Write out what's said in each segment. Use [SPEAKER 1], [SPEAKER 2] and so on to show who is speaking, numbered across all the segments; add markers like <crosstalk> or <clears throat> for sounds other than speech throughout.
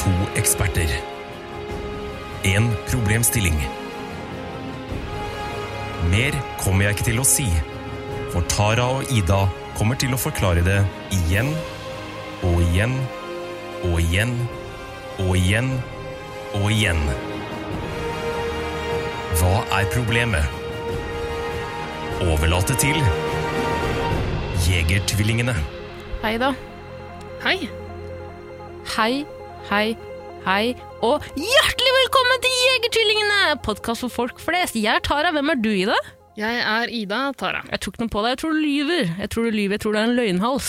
[SPEAKER 1] To eksperter. En problemstilling. Mer kommer jeg ikke til å si, for Tara og Ida kommer til å forklare det igjen og igjen og igjen og igjen og igjen. Hva er problemet? Overlate til Jegertvillingene.
[SPEAKER 2] Hei, da.
[SPEAKER 3] Hei.
[SPEAKER 2] Hei, hei, hei, og hjertelig velkommen til Jegertvillingene! Podkast for folk flest. Jeg er Tara. Hvem er du, Ida?
[SPEAKER 3] Jeg er Ida Tara.
[SPEAKER 2] Jeg tok noe på deg. Jeg tror du lyver. Jeg tror du lyver. Jeg tror du er en løgnhals.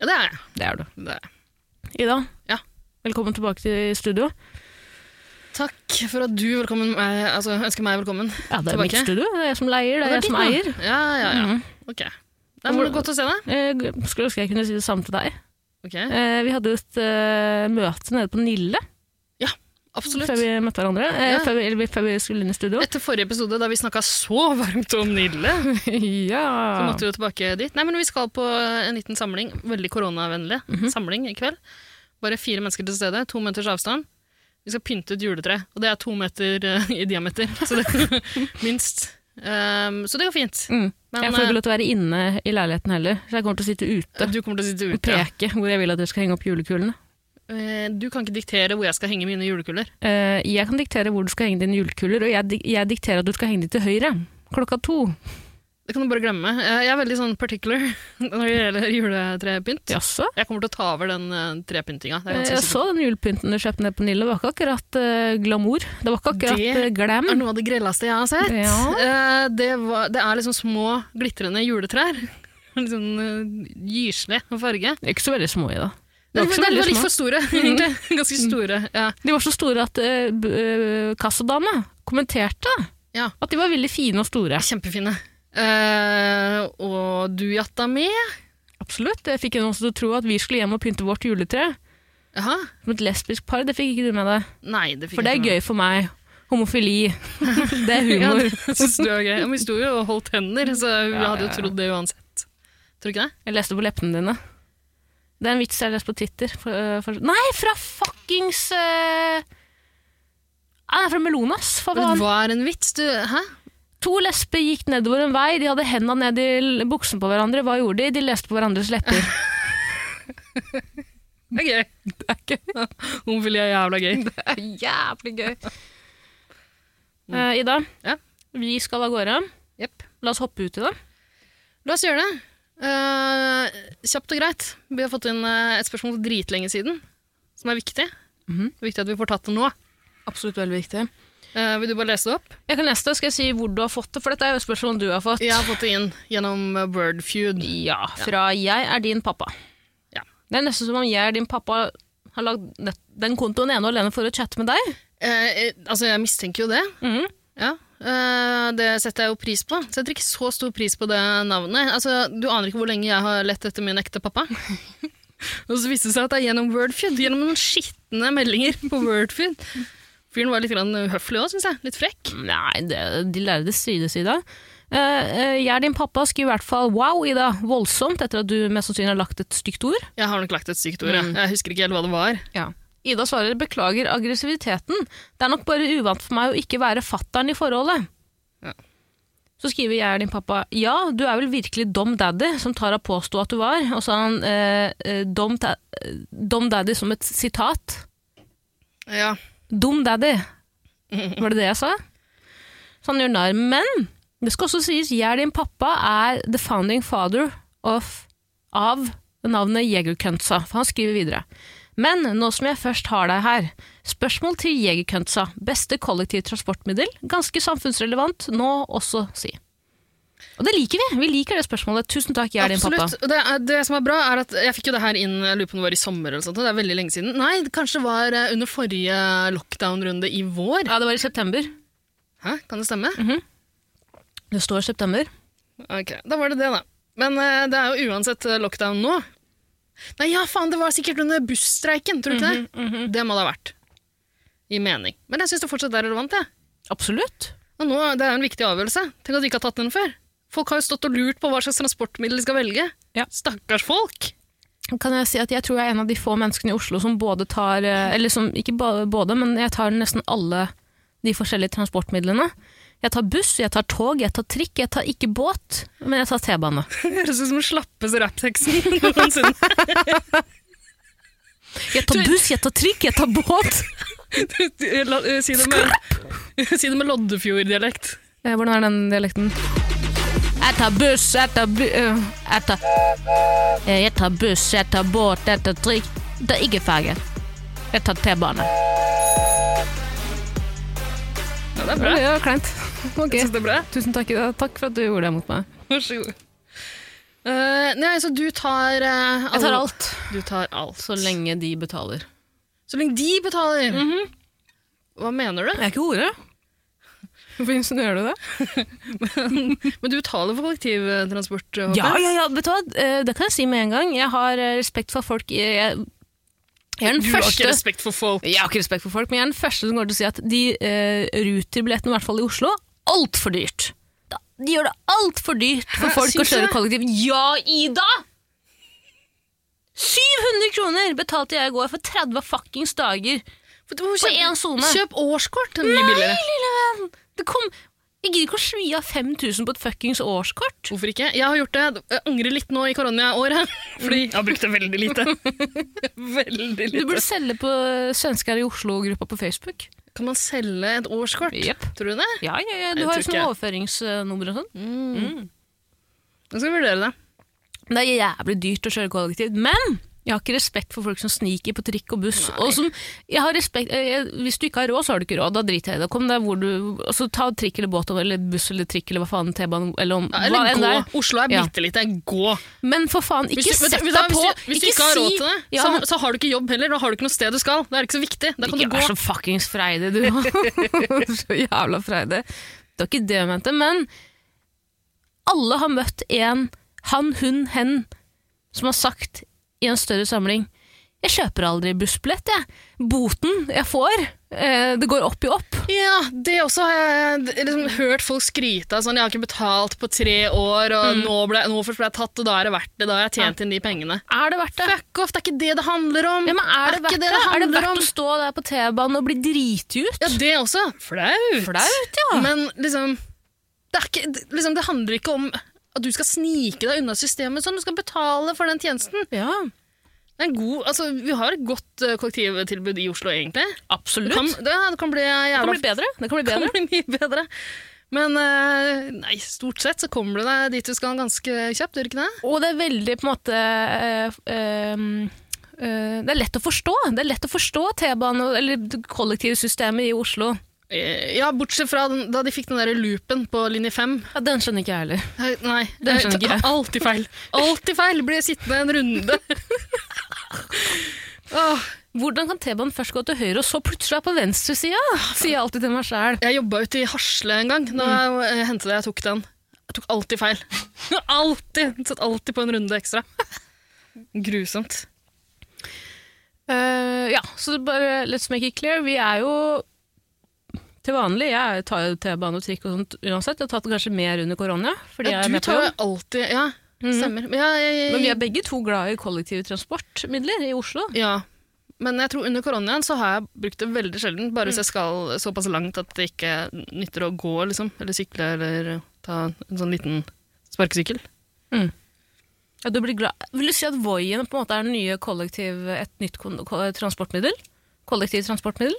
[SPEAKER 3] Ja, det er jeg.
[SPEAKER 2] Det er du.
[SPEAKER 3] Det er jeg.
[SPEAKER 2] Ida,
[SPEAKER 3] Ja.
[SPEAKER 2] velkommen tilbake til studio.
[SPEAKER 3] Takk for at du velkommen, eh, altså, ønsker meg velkommen.
[SPEAKER 2] Ja, det er
[SPEAKER 3] Tilbake.
[SPEAKER 2] mitt studio. Det er jeg som leier, det
[SPEAKER 3] Ja,
[SPEAKER 2] er
[SPEAKER 3] det er
[SPEAKER 2] jeg som
[SPEAKER 3] ditt,
[SPEAKER 2] eier. Mhm.
[SPEAKER 3] Ja, ja, ja. Ok. Det er
[SPEAKER 2] Hvor-
[SPEAKER 3] bare godt å se deg.
[SPEAKER 2] Eh, skulle ønske jeg kunne si det samme til deg.
[SPEAKER 3] Ok,
[SPEAKER 2] Eh, vi hadde jo et eh, møte nede på Nille
[SPEAKER 3] absolutt.
[SPEAKER 2] før vi møtte hverandre. Eh,
[SPEAKER 3] Ja.
[SPEAKER 2] før, vi, eller, før vi skulle inn i
[SPEAKER 3] <laughs>
[SPEAKER 2] studio.
[SPEAKER 3] Etter forrige episode, da vi snakka så <laughs> varmt om Nille,
[SPEAKER 2] ja.
[SPEAKER 3] så måtte vi jo tilbake dit. Nei, men vi skal på eh, en liten samling, veldig koronavennlig
[SPEAKER 2] Mhm.
[SPEAKER 3] samling i kveld. Bare fire mennesker til stede, to meters avstand. Vi skal pynte et juletre, og det er to meter eh, <laughs> i diameter, så det, <laughs> minst. Um, så det går fint.
[SPEAKER 2] Mm.
[SPEAKER 3] Men,
[SPEAKER 2] jeg får
[SPEAKER 3] eh,
[SPEAKER 2] ikke lov til å være inne i leiligheten heller, så jeg kommer til å sitte ute
[SPEAKER 3] Du kommer til å sitte
[SPEAKER 2] og
[SPEAKER 3] ute. ja.
[SPEAKER 2] peke hvor jeg vil at dere skal henge opp julekulene.
[SPEAKER 3] Eh, Du kan ikke diktere hvor jeg skal henge mine julekuler.
[SPEAKER 2] Eh, jeg kan diktere hvor du skal henge dine julekuler, og jeg, dik- jeg dikterer at du skal henge de til høyre. Klokka to.
[SPEAKER 3] Det kan du bare glemme. Eh, Jeg er veldig sånn particular <laughs> når det gjelder juletrepynt.
[SPEAKER 2] Jaså?
[SPEAKER 3] Jeg kommer til å ta over den eh, trepyntinga. Det er
[SPEAKER 2] Eh,
[SPEAKER 3] ganske
[SPEAKER 2] Jeg
[SPEAKER 3] sikkert.
[SPEAKER 2] så den julepynten du kjøpte ned på Nille. Det var ikke akkurat eh, glamour. Det var ikke akkurat
[SPEAKER 3] Det
[SPEAKER 2] eh, glam.
[SPEAKER 3] Det er noe av det grelleste jeg har sett. Eh, Det, var, det er liksom små, glitrende juletrær. <laughs> Litt sånn eh, gyselig farge.
[SPEAKER 2] Ikke så veldig små i det.
[SPEAKER 3] Det
[SPEAKER 2] Det var
[SPEAKER 3] var,
[SPEAKER 2] ikke så
[SPEAKER 3] det
[SPEAKER 2] veldig
[SPEAKER 3] var litt
[SPEAKER 2] små.
[SPEAKER 3] for
[SPEAKER 2] <laughs>
[SPEAKER 3] store, egentlig. Ganske store. Ja.
[SPEAKER 2] De var så store at eh, b- eh, kassadama kommenterte
[SPEAKER 3] Ja.
[SPEAKER 2] at de var veldig fine og store.
[SPEAKER 3] Kjempefine. Eh, og du jatta med?
[SPEAKER 2] Absolutt. Jeg fikk henne også til å tro at vi skulle hjem og pynte vårt juletre.
[SPEAKER 3] Jaha?
[SPEAKER 2] Som et lesbisk par, det fikk ikke du med deg.
[SPEAKER 3] Nei, det fikk
[SPEAKER 2] For det
[SPEAKER 3] jeg
[SPEAKER 2] er
[SPEAKER 3] ikke
[SPEAKER 2] gøy for meg. Homofili. <laughs> det er
[SPEAKER 3] Ja,
[SPEAKER 2] humor.
[SPEAKER 3] det synes du var gøy. Ja, men vi sto jo og holdt hender, så vi
[SPEAKER 2] Ja,
[SPEAKER 3] hadde jo
[SPEAKER 2] ja, ja.
[SPEAKER 3] trodd det uansett. Tror du ikke det?
[SPEAKER 2] Jeg leste på leppene dine. Det er en vits jeg leste på Twitter. For, øh, for, nei, fra fuckings øh, Nei, fra Melonas, for
[SPEAKER 3] Men
[SPEAKER 2] faen.
[SPEAKER 3] Hva er en vits? Du, hæ?
[SPEAKER 2] To lesber gikk nedover en vei, de hadde henda ned i l- buksen på hverandre. Hva gjorde de? De leste på hverandres lepper. <laughs>
[SPEAKER 3] Det er gøy.
[SPEAKER 2] Det er gøy.
[SPEAKER 3] Homofili er jævla gøy.
[SPEAKER 2] Det er jævlig gøy. Eh, Ida,
[SPEAKER 3] Ja.
[SPEAKER 2] vi skal av gårde.
[SPEAKER 3] Jepp.
[SPEAKER 2] La oss hoppe ut i det.
[SPEAKER 3] La oss gjøre det. Eh, kjapt og greit. Vi har fått inn eh, et spørsmål for dritlenge siden, som er viktig.
[SPEAKER 2] Mhm.
[SPEAKER 3] Det er Viktig at vi får tatt det nå.
[SPEAKER 2] Absolutt veldig viktig.
[SPEAKER 3] Eh, vil du bare lese det opp?
[SPEAKER 2] Jeg kan lese det. Skal jeg si hvor du har fått det? For dette er jo et spørsmål du har fått.
[SPEAKER 3] Jeg har fått det inn gjennom eh, Wordfeud.
[SPEAKER 2] Ja, fra 'jeg er din pappa'.
[SPEAKER 3] Ja.
[SPEAKER 2] Det er nesten som om 'jeg er din pappa' har lagd net- den kontoen ene og alene for å chatte med deg.
[SPEAKER 3] Eh, eh, altså, jeg mistenker jo det. Ja, eh, det setter jeg jo pris på. Setter ikke så stor pris på det navnet. Altså, du aner ikke hvor lenge jeg har lett etter min ekte <laughs> pappa. Og så viste det seg at det er gjennom Wordfeud, gjennom noen skitne meldinger på Wordfeud. Fyren var litt grann uhøflig òg, syns jeg. Litt frekk.
[SPEAKER 2] Nei, det, de lærde side side. Eh, eh, 'Jeg er din pappa' skriver i hvert fall 'wow, Ida', voldsomt, etter at du mest sannsynlig har lagt et stygt ord.
[SPEAKER 3] Jeg har nok lagt et sykt ord, jeg. Jeg husker ikke helt hva det var.
[SPEAKER 2] Ida svarer 'beklager aggressiviteten'. 'Det er nok bare uvant for meg å ikke være fattern i forholdet'.
[SPEAKER 3] Ja.
[SPEAKER 2] Så skriver 'jeg er din pappa'. 'Ja, du er vel virkelig Dom Daddy', som Tara påsto at du var. Og så har han eh, eh, Dom, ta eh, Dom Daddy som et sitat.
[SPEAKER 3] Ja.
[SPEAKER 2] Dum daddy. Var det det jeg sa? Så han gjør narr. Men det skal også sies jeg er din pappa er the founding father of, av navnet Jegerkøntsa. For han skriver videre. Men nå som jeg først har deg her, spørsmål til Jegerkøntsa. Beste kollektivtransportmiddel? Ganske samfunnsrelevant, nå også si. Og det liker vi. Vi liker det spørsmålet. Tusen takk, jeg er din pappa.
[SPEAKER 3] Absolutt. Og det, er- det som er bra, er at jeg fikk jo det her inn jeg lurer på om det var i sommer eller noe sånt. og Det er veldig lenge siden. Nei, det kanskje det var eh, under forrige lockdown-runde i vår.
[SPEAKER 2] Ja, det var i september.
[SPEAKER 3] Hæ, kan det stemme?
[SPEAKER 2] Det står september.
[SPEAKER 3] Ok, da var det det, da. Men eh, det er jo uansett eh, lockdown nå. Nei, ja, faen, det var sikkert under busstreiken, tror du ikke det? Det må det ha vært. I mening. Men jeg syns det fortsatt er relevant, jeg.
[SPEAKER 2] Absolutt.
[SPEAKER 3] Og nå, det er en viktig avgjørelse. Tenk at vi ikke har tatt den før. Folk har jo stått og lurt på hva slags transportmiddel de skal velge.
[SPEAKER 2] Ja.
[SPEAKER 3] Stakkars folk!
[SPEAKER 2] kan jeg si at jeg tror jeg er en av de få menneskene i Oslo som både tar eh, Eller som, ikke ba- både, men jeg tar nesten alle de forskjellige transportmidlene. Jeg tar buss, jeg tar tog, jeg tar trikk, jeg tar ikke båt, men jeg tar T-bane.
[SPEAKER 3] Høres ut som den slappeste rappteksten noensinne.
[SPEAKER 2] Jeg tar buss, jeg tar trikk, jeg tar båt!
[SPEAKER 3] La- eh, Si det med, si det med Loddefjord-dialekt.
[SPEAKER 2] Eh, Hvordan er den dialekten? Jeg tar buss, jeg tar bu... øh, Jeg tar, Eh, jeg tar buss, jeg tar båt, jeg tar trikk. Jeg tar ikke ferge. Jeg tar T-bane.
[SPEAKER 3] Ja, det er
[SPEAKER 2] Det
[SPEAKER 3] bra.
[SPEAKER 2] var kleint. Ok.
[SPEAKER 3] Jeg synes det er bra.
[SPEAKER 2] Tusen takk, takk for at du gjorde det mot meg.
[SPEAKER 3] Vær så god. Eh, nei, så du tar eh,
[SPEAKER 2] Jeg tar
[SPEAKER 3] alle-
[SPEAKER 2] alt.
[SPEAKER 3] Du tar alt.
[SPEAKER 2] Så lenge de betaler.
[SPEAKER 3] Så lenge de betaler. Mhm. Hva mener du?
[SPEAKER 2] Jeg er ikke
[SPEAKER 3] <laughs>
[SPEAKER 2] hore. Hvorfor insinuerer du det?
[SPEAKER 3] Men du betaler for kollektivtransport? håper
[SPEAKER 2] Ja,
[SPEAKER 3] jeg?
[SPEAKER 2] ja, ja, vet du hva? Eh, Det kan jeg si med en gang. Jeg har eh, respekt for folk. Jeg, jeg, jeg er den
[SPEAKER 3] Du har
[SPEAKER 2] første
[SPEAKER 3] ikke respekt for folk.
[SPEAKER 2] Jeg har ikke respekt for folk, men jeg er den første som går til å si at de eh, ruterbillettene, i hvert fall i Oslo, altfor dyrt. Da- De gjør det altfor dyrt for
[SPEAKER 3] Hæ,
[SPEAKER 2] folk å
[SPEAKER 3] syns du
[SPEAKER 2] kjøre
[SPEAKER 3] det?
[SPEAKER 2] kollektivt. Ja, Ida! 700 kroner betalte jeg i går for 30 fuckings dager.
[SPEAKER 3] For du må kjøpe-
[SPEAKER 2] én sone.
[SPEAKER 3] Kjøp årskort. Det er mye billigere.
[SPEAKER 2] Det kom... Jeg gidder ikke å svi av 5000 på et fuckings årskort.
[SPEAKER 3] Hvorfor ikke? Jeg har gjort det. Jeg angrer litt nå i koronaåret. <laughs> Fordi jeg har brukt det veldig lite. <laughs> veldig
[SPEAKER 2] Du burde
[SPEAKER 3] lite.
[SPEAKER 2] selge på svensker i Oslo-gruppa på Facebook.
[SPEAKER 3] Kan man selge et årskort?
[SPEAKER 2] Jepp.
[SPEAKER 3] Tror du det?
[SPEAKER 2] Ja, ja, ja. Du
[SPEAKER 3] Jeg
[SPEAKER 2] har jo
[SPEAKER 3] tror
[SPEAKER 2] sånn
[SPEAKER 3] ikke.
[SPEAKER 2] overføringsnummer og sånn.
[SPEAKER 3] Jeg skal vurdere det.
[SPEAKER 2] Det er jævlig dyrt å kjøre kollektivt, men jeg har ikke respekt for folk som sniker på trikk og buss. Og som, jeg har respekt, eh, jeg, hvis du ikke har råd, så har du ikke råd. Da driter jeg i det. Kom deg hvor du altså, Ta trikk eller båt eller buss eller trikk eller hva faen T-banen eller om
[SPEAKER 3] Ja,
[SPEAKER 2] hva
[SPEAKER 3] Eller
[SPEAKER 2] enn
[SPEAKER 3] gå.
[SPEAKER 2] det er.
[SPEAKER 3] Oslo er
[SPEAKER 2] Ja.
[SPEAKER 3] bitte lite. Gå.
[SPEAKER 2] Men for faen, ikke
[SPEAKER 3] Hvis du,
[SPEAKER 2] sett
[SPEAKER 3] vet du-
[SPEAKER 2] deg på!
[SPEAKER 3] hvis du, hvis du ikke har råd til det,
[SPEAKER 2] ja,
[SPEAKER 3] så,
[SPEAKER 2] men-
[SPEAKER 3] så har du ikke jobb heller. Da har du ikke noe sted du skal. Det er ikke så viktig. Da kan du
[SPEAKER 2] Ikke
[SPEAKER 3] gå.
[SPEAKER 2] vær så fuckings freidig, du. <laughs> så jævla freidig. Det var ikke det jeg mente, men alle har møtt en han, hun, hen som har sagt i en større samling jeg kjøper aldri bussbillett, jeg. Boten jeg får, eh, det går opp i opp.
[SPEAKER 3] Ja, det også har jeg d- liksom, hørt folk skryte av. Sånn, 'Jeg har ikke betalt på tre år, og nå, ble, nå først ble jeg tatt, og da er det verdt det.' Da har jeg tjent inn de pengene.
[SPEAKER 2] Er det verdt det?
[SPEAKER 3] Fuck off, det er ikke det det handler om!
[SPEAKER 2] Ja, men er det
[SPEAKER 3] ikke
[SPEAKER 2] verdt det? Er det verdt å stå der på T-banen og bli driti ut?
[SPEAKER 3] Ja, det også. Flaut.
[SPEAKER 2] Flaut, ja.
[SPEAKER 3] Men liksom det, er ikke, det- liksom det handler ikke om at du skal snike deg unna systemet sånn. Du skal betale for den tjenesten.
[SPEAKER 2] Ja,
[SPEAKER 3] Det er en god, altså, vi har et godt eh, kollektivtilbud i Oslo, egentlig. Det
[SPEAKER 2] absolutt.
[SPEAKER 3] kan, det, det kan bli
[SPEAKER 2] Det kan
[SPEAKER 3] jævla
[SPEAKER 2] bli bedre. Det kan bli
[SPEAKER 3] Det
[SPEAKER 2] bedre.
[SPEAKER 3] kan bli mye bedre. Men eh, nei, stort sett så kommer du deg dit du skal ganske kjapt, gjør du ikke det?
[SPEAKER 2] Og det er veldig på en måte eh, eh, eh, Det er lett å forstå. Det er lett å forstå T-banen og- eller det kollektivsystemet i Oslo.
[SPEAKER 3] Eh, Ja, bortsett fra den, da de fikk den der loopen på linje 5.
[SPEAKER 2] Ja, Den skjønner ikke jeg heller.
[SPEAKER 3] Nei,
[SPEAKER 2] Den skjønner ikke jeg.
[SPEAKER 3] Alltid feil. Alltid feil. Blir sittende en
[SPEAKER 2] <laughs>
[SPEAKER 3] runde. Åh,
[SPEAKER 2] Hvordan kan T-banen først gå til høyre og så plutselig være på venstresida? <laughs> Sier jeg alltid til meg sjæl.
[SPEAKER 3] jeg jobba ute i Hasle en gang. Da
[SPEAKER 2] Mm.
[SPEAKER 3] eh, hendte det jeg tok den. Jeg tok alltid feil. <laughs> Alltid! Satt alltid på en
[SPEAKER 2] <laughs>
[SPEAKER 3] runde ekstra. Grusomt.
[SPEAKER 2] Eh, ja, så det bare let's make it clear. Vi er jo til vanlig Jeg tar jo T-bane og trikk og sånt uansett. Jeg har tatt det kanskje mer under korona. Fordi jeg
[SPEAKER 3] Ja,
[SPEAKER 2] er
[SPEAKER 3] du
[SPEAKER 2] med på
[SPEAKER 3] tar jo
[SPEAKER 2] jobb.
[SPEAKER 3] alltid Ja, stemmer. Men, ja, jeg, jeg,
[SPEAKER 2] Men vi er begge to glad i kollektive transportmidler i Oslo.
[SPEAKER 3] Ja, men jeg tror under koronaen så har jeg brukt det veldig sjelden, bare
[SPEAKER 2] Mm.
[SPEAKER 3] hvis jeg skal såpass langt at det ikke nytter å gå, liksom, eller sykle, eller ta en sånn liten sparkesykkel.
[SPEAKER 2] Mm. Ja, du blir glad. Vil du si at Voien på en måte er den nye kollektiv, et nytt kon- ko- transportmiddel? Kollektivt transportmiddel?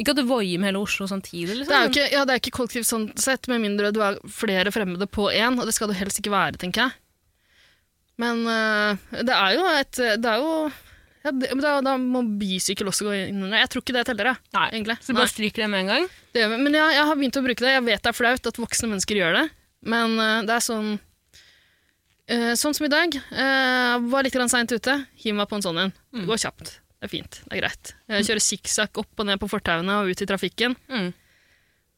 [SPEAKER 2] Ikke at du voier med hele Oslo samtidig, liksom.
[SPEAKER 3] Det er jo ikke, ja, det er ikke kollektivt sånn sett, med mindre du er flere fremmede på én, og det skal du helst ikke være, tenker jeg. Men øh, det er jo et Det er jo ja, det, men da, da må bysykkel også gå inn under. Jeg tror ikke det teller, jeg.
[SPEAKER 2] Nei.
[SPEAKER 3] egentlig.
[SPEAKER 2] Så du bare stryker det med en gang?
[SPEAKER 3] Det gjør vi. Men jeg, jeg har begynt å bruke det. Jeg vet det er flaut at voksne mennesker gjør det, men eh, det er sånn eh, Sånn som i dag. eh, var litt seint ute. Hiv meg på en sånn en.
[SPEAKER 2] Mm.
[SPEAKER 3] Det går kjapt. Det er fint. Det er greit. Jeg kjører sikksakk opp og ned på fortauene og ut i trafikken.
[SPEAKER 2] Mm.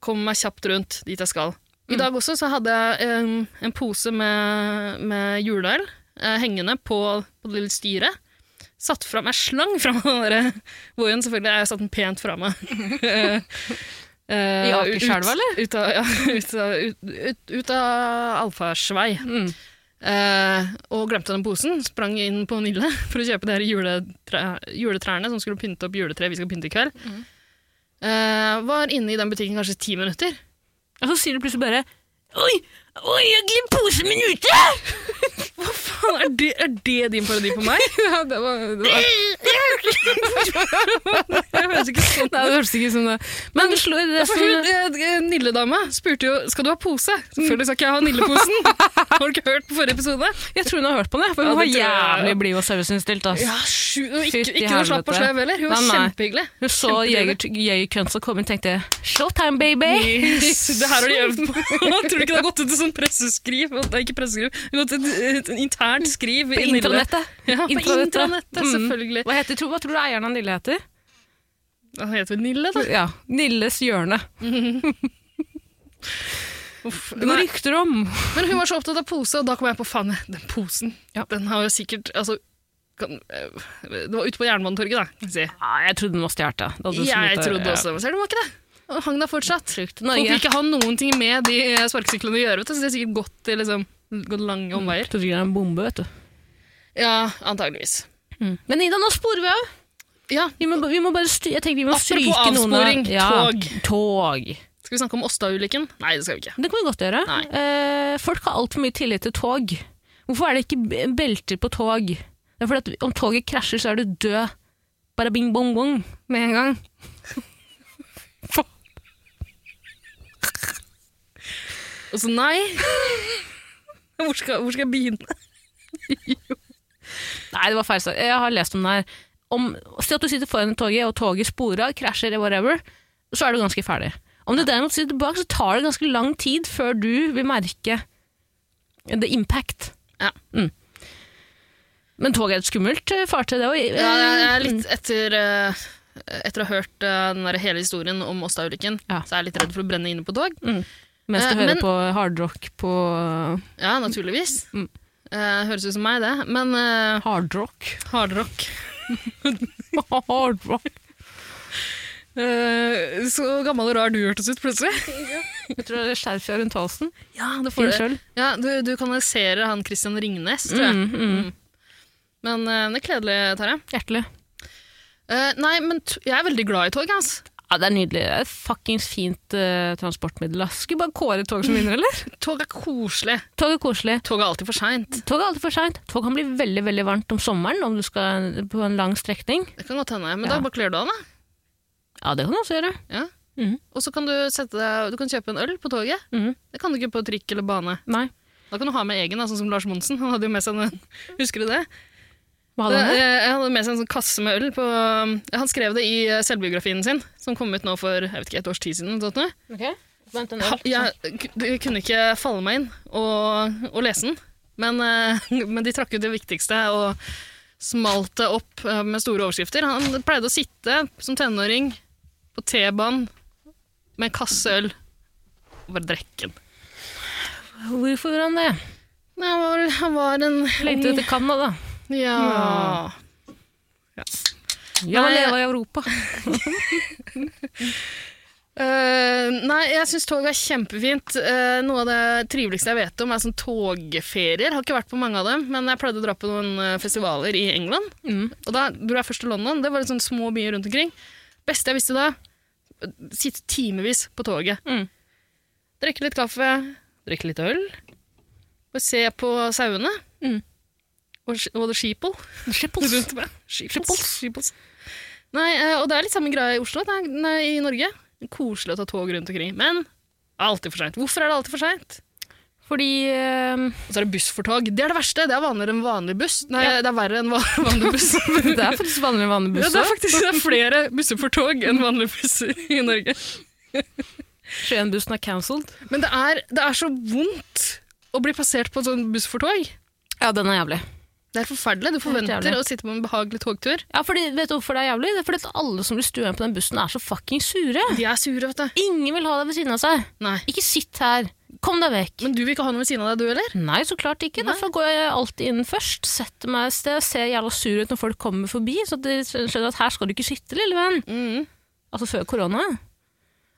[SPEAKER 3] Kommer meg kjapt rundt dit jeg skal. I dag også så hadde jeg en, en pose med, med juleøl eh, hengende på, på det lille styret. Satt fram, Jeg slang fram <laughs> den der voien, selvfølgelig. Jeg satt den pent fra meg. <laughs> Eh,
[SPEAKER 2] I
[SPEAKER 3] I <laughs>
[SPEAKER 2] Akerselva, eller? Mm.
[SPEAKER 3] Ut av, ja, ut av, ut, ut, ut av allfarsvei. Eh, og glemte den posen. Sprang inn på Nille <laughs> for å kjøpe de her juletre, juletrærne som skulle pynte opp juletreet vi skal pynte i kveld.
[SPEAKER 2] Mm.
[SPEAKER 3] Eh, var inne i den butikken kanskje ti minutter.
[SPEAKER 2] Og så sier du plutselig bare Oi, oi, jeg glemte posen min ute!
[SPEAKER 3] <laughs> Hva faen, er det, er det din parodi på meg? <laughs>
[SPEAKER 2] Ja, det var, det var.
[SPEAKER 3] Det høres ikke sånn
[SPEAKER 2] Nei, det hørtes ikke sånn ut. Men det slo det
[SPEAKER 3] For
[SPEAKER 2] som
[SPEAKER 3] hun, eh, Nille-dama spurte jo skal du ha pose. Selvfølgelig skal ikke jeg ha Nille-posen. <laughs> Har du ikke hørt på forrige episode?
[SPEAKER 2] Jeg tror hun har hørt på det, for hun
[SPEAKER 3] Ja,
[SPEAKER 2] var
[SPEAKER 3] det tror jeg.
[SPEAKER 2] jævlig blid og serviceinnstilt. ass.
[SPEAKER 3] Ja, sju, og
[SPEAKER 2] Fytti
[SPEAKER 3] ikke, ikke noe slapp og
[SPEAKER 2] helvete.
[SPEAKER 3] slev heller. Hun var
[SPEAKER 2] Nei, nei.
[SPEAKER 3] kjempehyggelig.
[SPEAKER 2] Hun så
[SPEAKER 3] Kjempetrivelig.
[SPEAKER 2] Jeger- Jegerkunst og kom inn og tenkte Showtime, baby!
[SPEAKER 3] Yes, <laughs> det her har de øvd på. Tror du ikke det har gått ut et sånt presseskriv? Nei, ikke presseskriv, men et, et, et internt skriv
[SPEAKER 2] På
[SPEAKER 3] i Nille.
[SPEAKER 2] intranettet.
[SPEAKER 3] Ja, på
[SPEAKER 2] Intranettet.
[SPEAKER 3] intranettet,
[SPEAKER 2] Mm.
[SPEAKER 3] selvfølgelig.
[SPEAKER 2] Hva, heter, tro, hva tror du eieren av Nille heter?
[SPEAKER 3] Han heter vel Nille, da?
[SPEAKER 2] Ja, Nilles hjørne.
[SPEAKER 3] Uff,
[SPEAKER 2] Det går
[SPEAKER 3] nei.
[SPEAKER 2] rykter om.
[SPEAKER 3] Men hun var så opptatt av pose, og da kom jeg på faen, den posen.
[SPEAKER 2] Ja.
[SPEAKER 3] Den har jo sikkert altså, kan, eh, Det var ute på Jernbanetorget, da. kan vi Si.
[SPEAKER 2] Ja, jeg trodde den var stjålet. da. Da hadde du
[SPEAKER 3] Jeg
[SPEAKER 2] smitt-
[SPEAKER 3] trodde
[SPEAKER 2] ja.
[SPEAKER 3] også Ser du, det var ikke det. Og hang der fortsatt. Folk
[SPEAKER 2] Norge.
[SPEAKER 3] vil ikke ha noen ting med de eh, sparkesyklene å gjøre, vet du, så de har sikkert gått, til, liksom, gått lange omveier.
[SPEAKER 2] Trodde ikke det var en bombe, vet du.
[SPEAKER 3] Ja, antageligvis.
[SPEAKER 2] Men Ida, nå sporer vi av.
[SPEAKER 3] Ja,
[SPEAKER 2] Vi må, vi må bare sty jeg tenker vi må
[SPEAKER 3] Apropos
[SPEAKER 2] stryke noen av
[SPEAKER 3] avsporing, tog.
[SPEAKER 2] tog.
[SPEAKER 3] Skal vi snakke om Åsta-ulykken? Nei, det skal vi ikke.
[SPEAKER 2] Det kan vi godt gjøre.
[SPEAKER 3] Nei.
[SPEAKER 2] Eh, folk har altfor mye tillit til tog. Hvorfor er det ikke b- belter på tog? Det er fordi at om toget krasjer, så er du død. Bare bing bong bong med en gang.
[SPEAKER 3] Og så nei. <laughs> Hvor skal, hvor skal jeg begynne?
[SPEAKER 2] Nei, det var feil. sak. Jeg har lest om det her. Om, si at du sitter foran toget, og toget sporer av, krasjer, whatever, så er du ganske ferdig. Om du derimot sitter bak, så tar det ganske lang tid før du vil merke the impact.
[SPEAKER 3] Ja.
[SPEAKER 2] Mm. Men toget er et skummelt eh, fartøy, det Mm. òg.
[SPEAKER 3] Ja, jeg jeg er litt etter eh, etter å ha hørt eh, den der hele historien om Åsta-ulykken,
[SPEAKER 2] Ja.
[SPEAKER 3] så er jeg litt redd for å brenne inne på tog.
[SPEAKER 2] Mens du
[SPEAKER 3] Eh,
[SPEAKER 2] hører
[SPEAKER 3] men-
[SPEAKER 2] på hardrock på
[SPEAKER 3] Ja, naturligvis.
[SPEAKER 2] Mm.
[SPEAKER 3] Eh, høres ut som meg, det. Men eh,
[SPEAKER 2] Hardrock?
[SPEAKER 3] hardrock
[SPEAKER 2] <laughs> hardrock.
[SPEAKER 3] Eh, Så gammel og rar du hørtes ut plutselig.
[SPEAKER 2] Jeg tror det er skjerfet rundt halsen.
[SPEAKER 3] <laughs> Ja, det
[SPEAKER 2] Fin
[SPEAKER 3] det.
[SPEAKER 2] sjøl.
[SPEAKER 3] Ja, du, du kanaliserer han Christian Ringnes, tror jeg.
[SPEAKER 2] Mm, mm.
[SPEAKER 3] Men eh, det er kledelig, Tarjei.
[SPEAKER 2] Hjertelig.
[SPEAKER 3] Eh, nei, men t jeg er veldig glad i tog, hans.
[SPEAKER 2] Ja, det er nydelig. Det er et fuckings fint eh, transportmiddel. ass. Skal vi bare kåre tog som vinner, <laughs> eller?
[SPEAKER 3] Tog er koselig.
[SPEAKER 2] Tog er koselig.
[SPEAKER 3] Tog er alltid for seint.
[SPEAKER 2] Tog er alltid for seint. Tog kan bli veldig veldig varmt om sommeren om du skal eh, på en lang strekning.
[SPEAKER 3] Det kan godt hende, men
[SPEAKER 2] Ja.
[SPEAKER 3] da bare kler du av deg.
[SPEAKER 2] Ja, det kan du også gjøre.
[SPEAKER 3] Ja.
[SPEAKER 2] Mhm.
[SPEAKER 3] Og så kan du, sette deg, du kan kjøpe en øl på toget.
[SPEAKER 2] Mhm.
[SPEAKER 3] Det kan du ikke på trikk eller bane.
[SPEAKER 2] Nei.
[SPEAKER 3] Da kan du ha med egen, da, sånn som Lars Monsen. Han hadde jo med seg en, <laughs> Husker du det?
[SPEAKER 2] Hva
[SPEAKER 3] det
[SPEAKER 2] hadde han med?
[SPEAKER 3] eh, han hadde med seg en sånn kasse med øl. På, han skrev det i eh, selvbiografien sin, som kom ut nå for jeg vet ikke, et års tid siden. eller noe sånt.
[SPEAKER 2] Vent en
[SPEAKER 3] Ha- Jeg k- det kunne ikke falle meg inn og, og lese den, men, eh, <laughs> men de trakk ut det viktigste og smalt det opp eh, med store overskrifter. Han pleide å sitte som tenåring på T-banen med en kasse øl og bare drikke den.
[SPEAKER 2] Hvorfor gjorde han det?
[SPEAKER 3] Nei, Han var, han var en
[SPEAKER 2] Lengtet etter Canada.
[SPEAKER 3] Ja.
[SPEAKER 2] Ja,
[SPEAKER 3] Nei,
[SPEAKER 2] han
[SPEAKER 3] jeg-
[SPEAKER 2] leva i Europa.
[SPEAKER 3] Eh, nei, jeg syns tog er kjempefint. Eh, noe av det triveligste jeg vet om, er sånn togferier. Har ikke vært på mange av dem, men jeg pleide å dra på noen eh, festivaler i England.
[SPEAKER 2] Mm.
[SPEAKER 3] Og da dro jeg først til London. Det var litt sånn små byer rundt omkring. Beste jeg visste da, sitte timevis på toget.
[SPEAKER 2] Mm.
[SPEAKER 3] Drikke litt kaffe, drikke litt øl, og se på sauene.
[SPEAKER 2] Mm.
[SPEAKER 3] Og, sk- og the sheeple
[SPEAKER 2] Skipples.
[SPEAKER 3] rundt meg. Sheeples.
[SPEAKER 2] Sheeples.
[SPEAKER 3] Sheeples. Nei, eh, og det er litt samme greia i Oslo, nei, nei, i Norge. Koselig å ta tog rundt omkring, men alltid for seint. Hvorfor er det alltid for seint?
[SPEAKER 2] Fordi eh,
[SPEAKER 3] Og så er det buss for tog. Det er det verste. Det er vanligere enn vanlig buss. Nei,
[SPEAKER 2] Ja.
[SPEAKER 3] det er verre enn va- <laughs> vanlig buss.
[SPEAKER 2] <laughs> Det er faktisk vanlig med vanlig
[SPEAKER 3] Ja,
[SPEAKER 2] buss
[SPEAKER 3] det er
[SPEAKER 2] òg.
[SPEAKER 3] faktisk det er flere busser for tog enn vanlige busser i Norge.
[SPEAKER 2] Skien-bussen er cancelled.
[SPEAKER 3] Men det er, det er så vondt å bli passert på en sånn buss for tog.
[SPEAKER 2] Ja, den er jævlig.
[SPEAKER 3] Det er forferdelig. Du
[SPEAKER 2] helt
[SPEAKER 3] forventer
[SPEAKER 2] jævlig.
[SPEAKER 3] å sitte på en behagelig togtur.
[SPEAKER 2] Ja, fordi, vet du hvorfor det er jævlig? Det er fordi at alle som blir stua inn på den bussen, er så fucking sure.
[SPEAKER 3] De er sure, vet du.
[SPEAKER 2] Ingen vil ha deg ved siden av seg.
[SPEAKER 3] Nei.
[SPEAKER 2] Ikke sitt her. Kom deg vekk.
[SPEAKER 3] Men du vil ikke ha noe ved siden av deg, du heller?
[SPEAKER 2] Nei, så klart ikke. Derfor går jeg alltid inn først. Setter meg et sted og ser jævla sur ut når folk kommer forbi. Så at de skjønner at her skal du ikke sitte, lille venn.
[SPEAKER 3] Mm.
[SPEAKER 2] Altså før korona.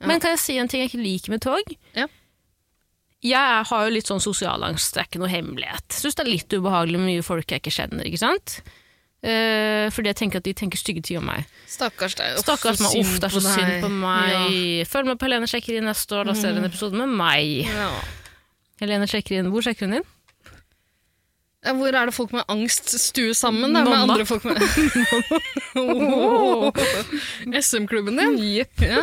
[SPEAKER 2] Men kan jeg si en ting jeg ikke liker med tog?
[SPEAKER 3] Ja.
[SPEAKER 2] jeg har jo litt sånn sosialangst, det er ikke noe hemmelighet. Syns det er litt ubehagelig med mye folk jeg ikke kjenner, ikke sant? Eh, fordi jeg tenker at de tenker stygge ting om meg.
[SPEAKER 3] Stakkars deg. Uff,
[SPEAKER 2] Stakkars
[SPEAKER 3] så
[SPEAKER 2] meg, uff, det er så
[SPEAKER 3] på
[SPEAKER 2] synd
[SPEAKER 3] deg. Mm.
[SPEAKER 2] på meg. Følg med på Helene sjekker inn neste år, da ser dere en episode med meg.
[SPEAKER 3] Ja. Ja.
[SPEAKER 2] Helene sjekker inn, hvor sjekker hun inn?
[SPEAKER 3] Ja, Hvor er det folk med angst stues sammen da, med
[SPEAKER 2] Mamma.
[SPEAKER 3] andre folk med Åh, <laughs> SM-klubben din? Ja.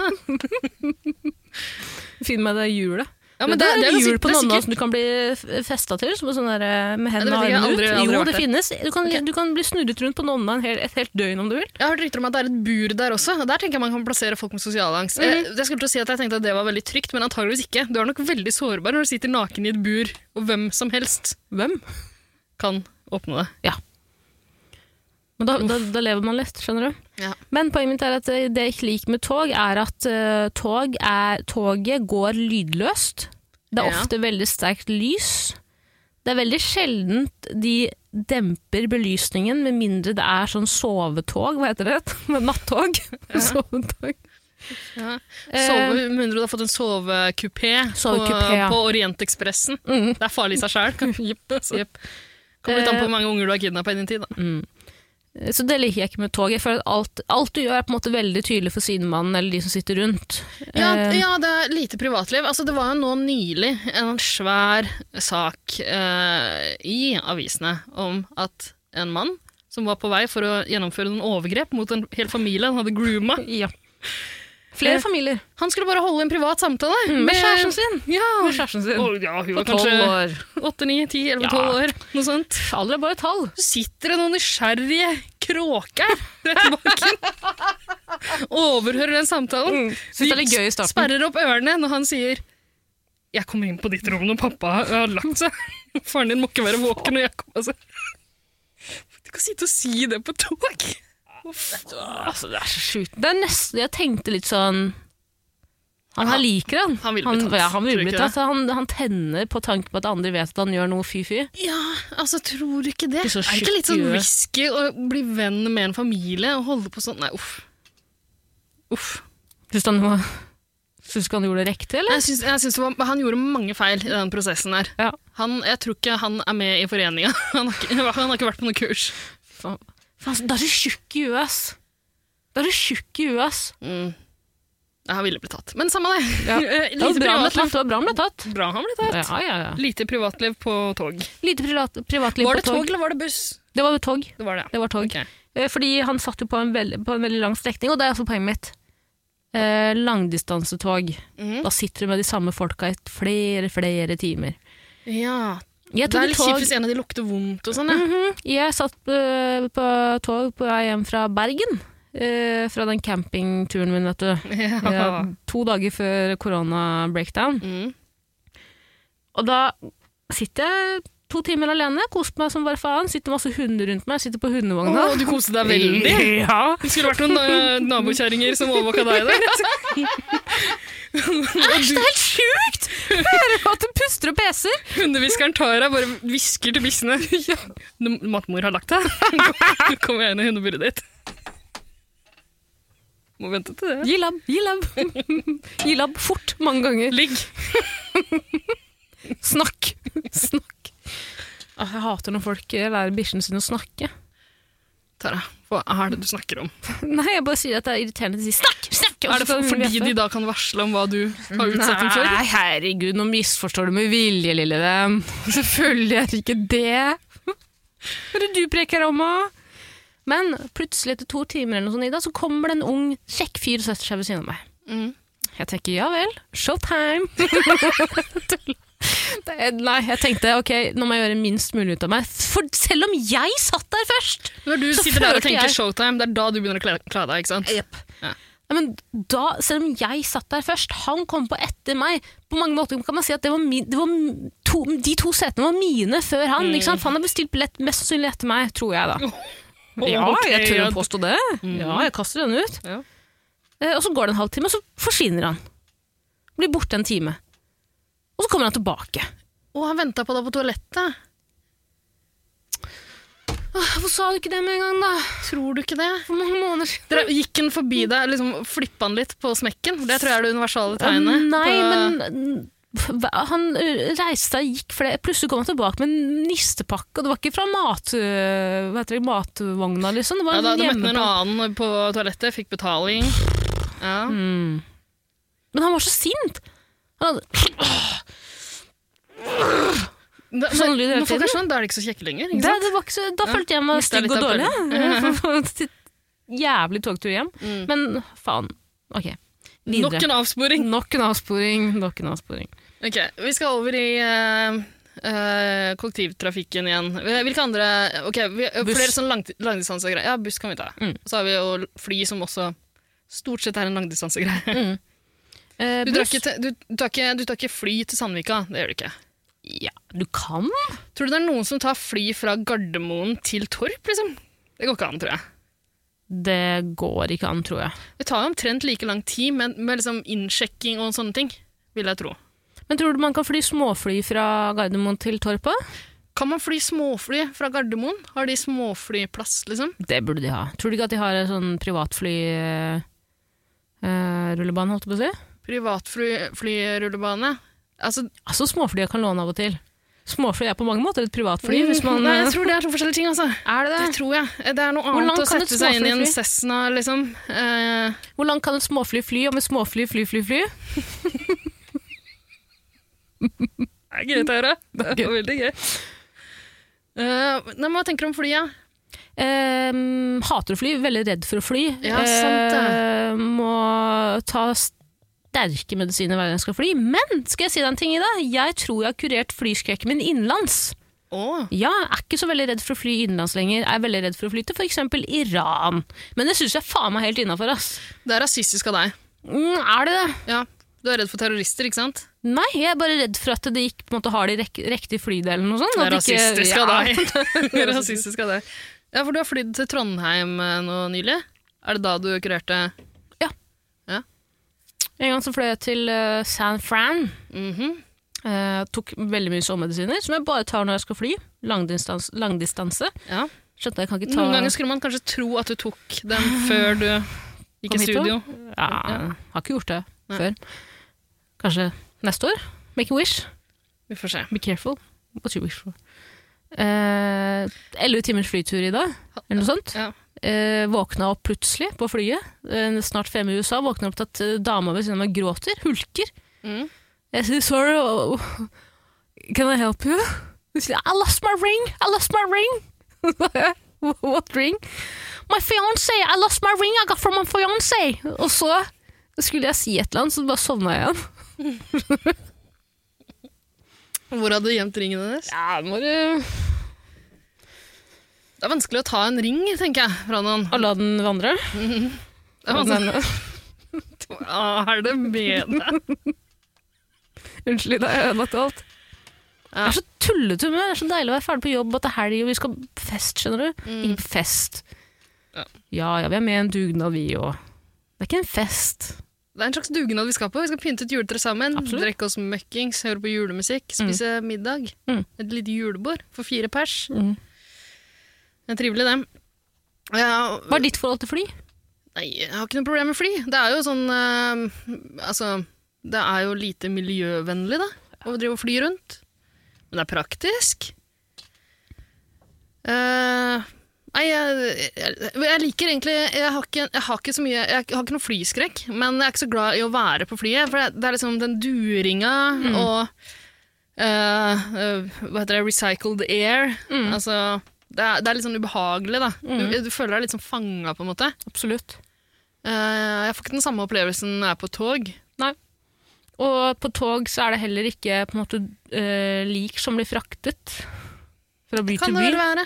[SPEAKER 2] Finn meg det hjulet.
[SPEAKER 3] ja,
[SPEAKER 2] det, er
[SPEAKER 3] ganske-
[SPEAKER 2] jul på
[SPEAKER 3] det er
[SPEAKER 2] nonna
[SPEAKER 3] sikkert-
[SPEAKER 2] som du kan bli f- festa til, som en sånn der, med hendene og armene ut.
[SPEAKER 3] vet jeg ikke, jeg har aldri- aldri
[SPEAKER 2] jo,
[SPEAKER 3] vært
[SPEAKER 2] det
[SPEAKER 3] der.
[SPEAKER 2] finnes. Du kan, du kan bli snurret rundt på nonna en hel, et helt døgn om du vil.
[SPEAKER 3] Jeg har hørt rykter om at det er et bur der også, og der tenker jeg man kan plassere folk med sosial angst.
[SPEAKER 2] Mhm.
[SPEAKER 3] jeg, jeg skulle til å si at jeg tenkte at det var veldig trygt, men antageligvis ikke. Du er nok veldig sårbar når du sitter naken i et bur, og hvem som helst
[SPEAKER 2] Hvem?
[SPEAKER 3] kan åpne det.
[SPEAKER 2] Men da, da, da lever man litt, skjønner du.
[SPEAKER 3] Ja.
[SPEAKER 2] Men poenget mitt er at eh, det jeg ikke liker med tog, er at eh, tog er, toget går lydløst. Det er
[SPEAKER 3] Ja.
[SPEAKER 2] ofte veldig sterkt lys. Det er veldig sjeldent de demper belysningen, med mindre det er sånn sovetog, hva heter det? <laughs> Nattog. sovetog.
[SPEAKER 3] Ja.
[SPEAKER 2] Eh,
[SPEAKER 3] Sove, med mindre du har fått en sovekupé Mm.
[SPEAKER 2] Sovekupé, ja.
[SPEAKER 3] på, på Orientekspressen.
[SPEAKER 2] Mhm.
[SPEAKER 3] Det er farlig i seg sjøl. <laughs> altså. Kommer litt an på hvor mange unger du har kidnappa i din tid. Da.
[SPEAKER 2] Så det liker jeg ikke med tog. Jeg føler at alt, alt du gjør er på en måte veldig tydelig for sidemannen eller de som sitter rundt.
[SPEAKER 3] Ja,
[SPEAKER 2] Eh,
[SPEAKER 3] ja, det er lite privatliv. Altså, det var jo nå nylig en svær sak eh, i avisene om at en mann som var på vei for å gjennomføre noen overgrep mot en hel familie han hadde grooma
[SPEAKER 2] ja. Flere familier
[SPEAKER 3] Han skulle bare holde en privat samtale
[SPEAKER 2] med kjæresten sin.
[SPEAKER 3] Ja,
[SPEAKER 2] Med kjæresten sin.
[SPEAKER 3] Og, Mm. ja hun var
[SPEAKER 2] På 12
[SPEAKER 3] kanskje
[SPEAKER 2] år.
[SPEAKER 3] 8, 9, 10, 11,
[SPEAKER 2] Ja.
[SPEAKER 3] 12 år. Noe sånt.
[SPEAKER 2] Alder er bare tall.
[SPEAKER 3] Så sitter det noen nysgjerrige kråker rett i bakken. Overhører den samtalen.
[SPEAKER 2] Syns det er litt gøy i starten.
[SPEAKER 3] Sperrer opp ørene når han sier jeg kommer inn på ditt rom når pappa har lagt seg. Faren din må ikke være våken. Og jeg kommer, altså. Du kan sitte og si det på tog!
[SPEAKER 2] Altså, det er så sjukt. Det er nesten Jeg tenkte litt sånn Han her liker han.
[SPEAKER 3] Han vil bli tatt,
[SPEAKER 2] Ja, han,
[SPEAKER 3] tror
[SPEAKER 2] vil
[SPEAKER 3] du
[SPEAKER 2] bli
[SPEAKER 3] ikke
[SPEAKER 2] tatt. Han, han tenner på tanken på at andre vet at han gjør noe fy-fy.
[SPEAKER 3] Ja, altså, tror du ikke det?
[SPEAKER 2] Det er så
[SPEAKER 3] er, det ikke litt sånn
[SPEAKER 2] skikkelig.
[SPEAKER 3] risky å bli venn med en familie og holde på sånn? Nei, uff. Uff.
[SPEAKER 2] Syns du han, var- synes du han gjorde det riktig, eller?
[SPEAKER 3] Jeg syns, jeg syns det var, han gjorde mange feil i den prosessen her.
[SPEAKER 2] Ja.
[SPEAKER 3] Han, jeg tror ikke han er med i foreninga. <laughs> Han, har ikke- han har ikke vært på noe kurs.
[SPEAKER 2] Faen, faen, da er du tjukk i huet, ass. Da er du tjukk i huet, ass.
[SPEAKER 3] Mm. Ja, han ville bli tatt. Men samme det.
[SPEAKER 2] Ja.
[SPEAKER 3] Eh,
[SPEAKER 2] Det var
[SPEAKER 3] <laughs> Lite
[SPEAKER 2] bra han ble
[SPEAKER 3] privatliv.
[SPEAKER 2] tatt. Det var bra han ble tatt.
[SPEAKER 3] Bra han ble tatt.
[SPEAKER 2] Ja, ja, ja.
[SPEAKER 3] Lite privatliv på tog.
[SPEAKER 2] Lite privat, privatliv
[SPEAKER 3] var
[SPEAKER 2] på
[SPEAKER 3] det tog,
[SPEAKER 2] tog.
[SPEAKER 3] eller var det buss?
[SPEAKER 2] Det var jo tog.
[SPEAKER 3] Det var det.
[SPEAKER 2] Det var tog.
[SPEAKER 3] Ok.
[SPEAKER 2] Eh, Fordi han satt jo på en, veld, på en veldig lang strekning, og det er også poenget mitt. Eh, langdistansetog.
[SPEAKER 3] Mhm.
[SPEAKER 2] Da sitter du med de samme folka i flere, flere timer.
[SPEAKER 3] Ja.
[SPEAKER 2] Jeg
[SPEAKER 3] Det er
[SPEAKER 2] tok
[SPEAKER 3] litt kjipt
[SPEAKER 2] tog
[SPEAKER 3] hvis en av de lukter vondt og sånn. Ja.
[SPEAKER 2] Mhm. Jeg satt eh, på tog på vei hjem fra Bergen. eh, fra den campingturen min, vet du.
[SPEAKER 3] <laughs> Ja.
[SPEAKER 2] Eh, to dager før korona-breakdown.
[SPEAKER 3] Mm.
[SPEAKER 2] Og da sitter jeg to timer alene, koser meg som bare faen, sitter masse hunder rundt meg, sitter på hundevogna.
[SPEAKER 3] Å, du koste deg
[SPEAKER 2] <laughs>
[SPEAKER 3] veldig.
[SPEAKER 2] Ja.
[SPEAKER 3] Det skulle vært noen eh, nabokjerringer som overvåka
[SPEAKER 2] <laughs>
[SPEAKER 3] deg der. <laughs> Og
[SPEAKER 2] Det er
[SPEAKER 3] du-
[SPEAKER 2] helt sjukt! Hører du at det puster og peser?
[SPEAKER 3] Hundehviskeren Tara bare hvisker til <laughs> bissene. Når Matmor har <laughs> lagt deg. Kommer jeg inn i hundeburet ditt. Må vente til det.
[SPEAKER 2] Gi labb, gi labb. <laughs> Gi labb fort, mange ganger.
[SPEAKER 3] Ligg.
[SPEAKER 2] Snakk. <laughs> Snakk. Ah, Jeg hater når folk eh, lærer bikkjene sine å snakke.
[SPEAKER 3] Tara, hva er det du snakker om?
[SPEAKER 2] Nei, jeg bare sier at det er irriterende at de sier snakk, snakk! og
[SPEAKER 3] Er det
[SPEAKER 2] så
[SPEAKER 3] for,
[SPEAKER 2] skal
[SPEAKER 3] fordi de
[SPEAKER 2] bjeffe.
[SPEAKER 3] da kan varsle om hva du <laughs> har utsatt dem for?
[SPEAKER 2] Nei, herregud, nå misforstår du med vilje, lille venn. Selvfølgelig er det ikke det. Hva er det du preker om, da? Men plutselig etter to timer eller noe sånt, Ida, så kommer det en ung, kjekk fyr og setter seg ved siden av meg.
[SPEAKER 3] Mm.
[SPEAKER 2] Jeg tenker ja vel, showtime. <laughs> Tull. Det er- Nei, jeg tenkte ok, nå må jeg gjøre minst mulig ut av meg. For selv om jeg satt der først!
[SPEAKER 3] Når du
[SPEAKER 2] Så
[SPEAKER 3] sitter der og
[SPEAKER 2] følte
[SPEAKER 3] tenker
[SPEAKER 2] jeg-
[SPEAKER 3] showtime, det er da du begynner å kle, kle deg, ikke sant?
[SPEAKER 2] Nei, men da, selv om jeg satt der først, han kom på etter meg. På mange måter kan man si at det var min, det var m- to, de to setene var mine før han. Ikke
[SPEAKER 3] Mm.
[SPEAKER 2] sant? For han har bestilt billett mest sannsynlig etter meg, tror jeg da. Ja,
[SPEAKER 3] Ok,
[SPEAKER 2] jeg tør
[SPEAKER 3] ja, Mm.
[SPEAKER 2] å påstå det. Ja, jeg kaster den ut.
[SPEAKER 3] Ja.
[SPEAKER 2] Eh, Og så går det en halvtime, og så forsvinner han. Blir borte en time. Og så kommer han tilbake.
[SPEAKER 3] Å, han venta på deg på toalettet.
[SPEAKER 2] Åh, Hvorfor sa du ikke det med en gang, da?
[SPEAKER 3] Tror du ikke det?
[SPEAKER 2] For mange måneder siden.
[SPEAKER 3] Dere gikk han forbi deg, liksom flippa han litt på smekken? Det tror jeg er det universale tegnet.
[SPEAKER 2] Nei,
[SPEAKER 3] på-
[SPEAKER 2] men Han ø, reiste og gikk for det. Plutselig kom han tilbake med en nistepakke, og det var ikke fra mat, ø, hva heter det, matvogna, liksom. Det var
[SPEAKER 3] Ja, da hadde møtt
[SPEAKER 2] hjemmepa-
[SPEAKER 3] en annen på toalettet, fikk betaling. Ja.
[SPEAKER 2] Mm. Men han var så sint! Han hadde, <clears throat>
[SPEAKER 3] Da,
[SPEAKER 2] Sånn
[SPEAKER 3] når-
[SPEAKER 2] lyder det
[SPEAKER 3] når folk
[SPEAKER 2] hele
[SPEAKER 3] er sånn, da er det ikke så kjekke lenger. Ikke
[SPEAKER 2] det,
[SPEAKER 3] sant?
[SPEAKER 2] det var ikke så, da
[SPEAKER 3] Ja,
[SPEAKER 2] følte jeg meg
[SPEAKER 3] mistet
[SPEAKER 2] stygg
[SPEAKER 3] litt
[SPEAKER 2] og dårlig.
[SPEAKER 3] <laughs> appell.
[SPEAKER 2] ja. <laughs> Jævlig togtur hjem.
[SPEAKER 3] Mm.
[SPEAKER 2] Men faen. Ok.
[SPEAKER 3] Nok
[SPEAKER 2] Videre.
[SPEAKER 3] en avsporing.
[SPEAKER 2] Nok en avsporing. Nok en avsporing.
[SPEAKER 3] Ok, Vi skal over i eh, eh, kollektivtrafikken igjen. Eh, Hvilke andre Ok, vi,
[SPEAKER 2] Buss.
[SPEAKER 3] Flere sånn langdi- langdistansegreier. Ja, buss kan vi ta.
[SPEAKER 2] Mm.
[SPEAKER 3] Så har vi jo fly, som også stort sett er en langdistansegreie.
[SPEAKER 2] Eh,
[SPEAKER 3] Du, drar
[SPEAKER 2] buss?
[SPEAKER 3] ikke til- du, du, tar ikke- du tar ikke fly til Sandvika. Det gjør du ikke.
[SPEAKER 2] Ja, du kan.
[SPEAKER 3] Tror du det er noen som tar fly fra Gardermoen til Torp, liksom? Det går ikke an, tror jeg.
[SPEAKER 2] Det går ikke an, tror jeg.
[SPEAKER 3] Det tar jo omtrent like lang tid med, med liksom innsjekking og sånne ting, vil jeg tro.
[SPEAKER 2] Men tror du man kan fly småfly fra Gardermoen til Torpa?
[SPEAKER 3] Kan man fly småfly fra Gardermoen? Har de småflyplass, liksom?
[SPEAKER 2] Det burde de ha. Tror du ikke at de har en sånn privatflyrullebane, holdt jeg på å si?
[SPEAKER 3] Privatflyrullebane? Altså,
[SPEAKER 2] Altså, småfly jeg kan låne av og til. Småfly er på mange måter et privatfly. Hvis
[SPEAKER 3] <laughs>
[SPEAKER 2] man, eh,
[SPEAKER 3] Mm. Nei, jeg tror det er to forskjellige ting, altså.
[SPEAKER 2] er det
[SPEAKER 3] Det
[SPEAKER 2] det?
[SPEAKER 3] tror jeg. Det er noe
[SPEAKER 2] Hvor langt
[SPEAKER 3] annet å
[SPEAKER 2] kan et
[SPEAKER 3] sette seg inn i en
[SPEAKER 2] småfly fly?
[SPEAKER 3] Cessna, liksom. Eh,
[SPEAKER 2] Hvor langt kan et småfly fly om et småfly fly, fly, fly?
[SPEAKER 3] det er greit å høre. <laughs> Det er veldig gøy. Eh, nei, men hva tenker du om flyet?
[SPEAKER 2] Eh, hater å fly, veldig redd for å fly.
[SPEAKER 3] Ja, sant det.
[SPEAKER 2] Eh, må ta sterke medisiner hver gang jeg skal fly. Men skal jeg si deg en ting, Ida? Jeg tror jeg har kurert flyskrekken min innenlands.
[SPEAKER 3] Å,
[SPEAKER 2] Ja, er ikke så veldig redd for å fly innenlands lenger. Er veldig redd for å fly til f.eks. Iran. Men det syns jeg faen meg helt innafor, ass.
[SPEAKER 3] det er rasistisk av deg.
[SPEAKER 2] Mm, er det det?
[SPEAKER 3] Ja, du er redd for terrorister, ikke sant?
[SPEAKER 2] Nei, jeg er bare redd for at det ikke på en måte, har de rek riktige flydelen og sånn.
[SPEAKER 3] Det er
[SPEAKER 2] at ikke-
[SPEAKER 3] rasistisk
[SPEAKER 2] Ja.
[SPEAKER 3] av deg. <laughs> Det er rasistisk av deg. Ja, for du har flydd til Trondheim eh, nå nylig. Er det da du kurerte
[SPEAKER 2] En gang så fløy jeg til eh, San Fran.
[SPEAKER 3] Mhm.
[SPEAKER 2] Eh, tok veldig mye sovemedisiner, som jeg bare tar når jeg skal fly. Langdistans, langdistanse.
[SPEAKER 3] Ja.
[SPEAKER 2] Skjønte jeg kan ikke ta
[SPEAKER 3] Noen ganger skulle man kanskje tro at du tok <sighs> den før du gikk
[SPEAKER 2] Kom
[SPEAKER 3] i
[SPEAKER 2] hit
[SPEAKER 3] studio.
[SPEAKER 2] ja, Har ikke gjort det
[SPEAKER 3] Nei.
[SPEAKER 2] før. Kanskje neste år. Make a wish.
[SPEAKER 3] Vi får se.
[SPEAKER 2] Be careful. What you wish for. Eh, Elleve timers flytur i dag, eller noe sånt.
[SPEAKER 3] Ja.
[SPEAKER 2] Eh, våkna opp plutselig på flyet, eh, snart fremme i USA. Våkna opp til at eh, dama ved siden av meg gråter, hulker.
[SPEAKER 3] Mm.
[SPEAKER 2] Jeg sier sorry, oh, oh, can I help you? Hun sier I lost my ring, I lost my ring. <laughs> What ring? My fiance, I lost my ring I got from my fiance. Og så skulle jeg si et eller annet, så bare sovna jeg igjen.
[SPEAKER 3] Hvor hadde du gjemt ringen hennes?
[SPEAKER 2] Ja, nå må du...
[SPEAKER 3] Det er vanskelig å ta en ring, tenker jeg, fra noen.
[SPEAKER 2] Og la den vandre.
[SPEAKER 3] Det er, vanskelig. <laughs> Hva er det <laughs> med deg?
[SPEAKER 2] Unnskyld, da har jeg ødelagt alt. Jeg
[SPEAKER 3] Ja.
[SPEAKER 2] er så tullete humør. Det er så deilig å være ferdig på jobb at det er helg og vi skal på fest, skjønner du.
[SPEAKER 3] Mm.
[SPEAKER 2] Ikke på fest.
[SPEAKER 3] Ja.
[SPEAKER 2] Ja, ja, vi er med i en dugnad, vi òg. Det er ikke en fest.
[SPEAKER 3] Det er en slags dugnad vi skal på. Vi skal pynte et juletre sammen,
[SPEAKER 2] Absolutt.
[SPEAKER 3] drikke oss møkkings, høre på julemusikk, spise middag.
[SPEAKER 2] Mm.
[SPEAKER 3] Et lite julebord for fire pers.
[SPEAKER 2] Mm.
[SPEAKER 3] Det er trivelig, det. Ja,
[SPEAKER 2] Hva er ditt forhold til fly?
[SPEAKER 3] Nei, jeg har ikke noe problem med fly. Det er jo sånn eh, Altså, det er jo lite miljøvennlig, da, å drive og fly rundt. Men det er praktisk. Eh, nei, jeg, jeg, jeg liker egentlig jeg har, ikke, jeg har ikke så mye Jeg har ikke noe flyskrekk, men jeg er ikke så glad i å være på flyet. For det, det er liksom den duringa og eh, eh, Hva heter det? Recycled air. Altså det er, det er litt sånn ubehagelig, da. Du, du føler deg litt sånn fanga, på en måte.
[SPEAKER 2] Absolutt.
[SPEAKER 3] Eh, jeg får ikke den samme opplevelsen når jeg er på tog.
[SPEAKER 2] Nei. Og på tog så er det heller ikke på en måte eh, lik som blir fraktet fra by
[SPEAKER 3] Kan
[SPEAKER 2] til
[SPEAKER 3] det
[SPEAKER 2] by.
[SPEAKER 3] vel være?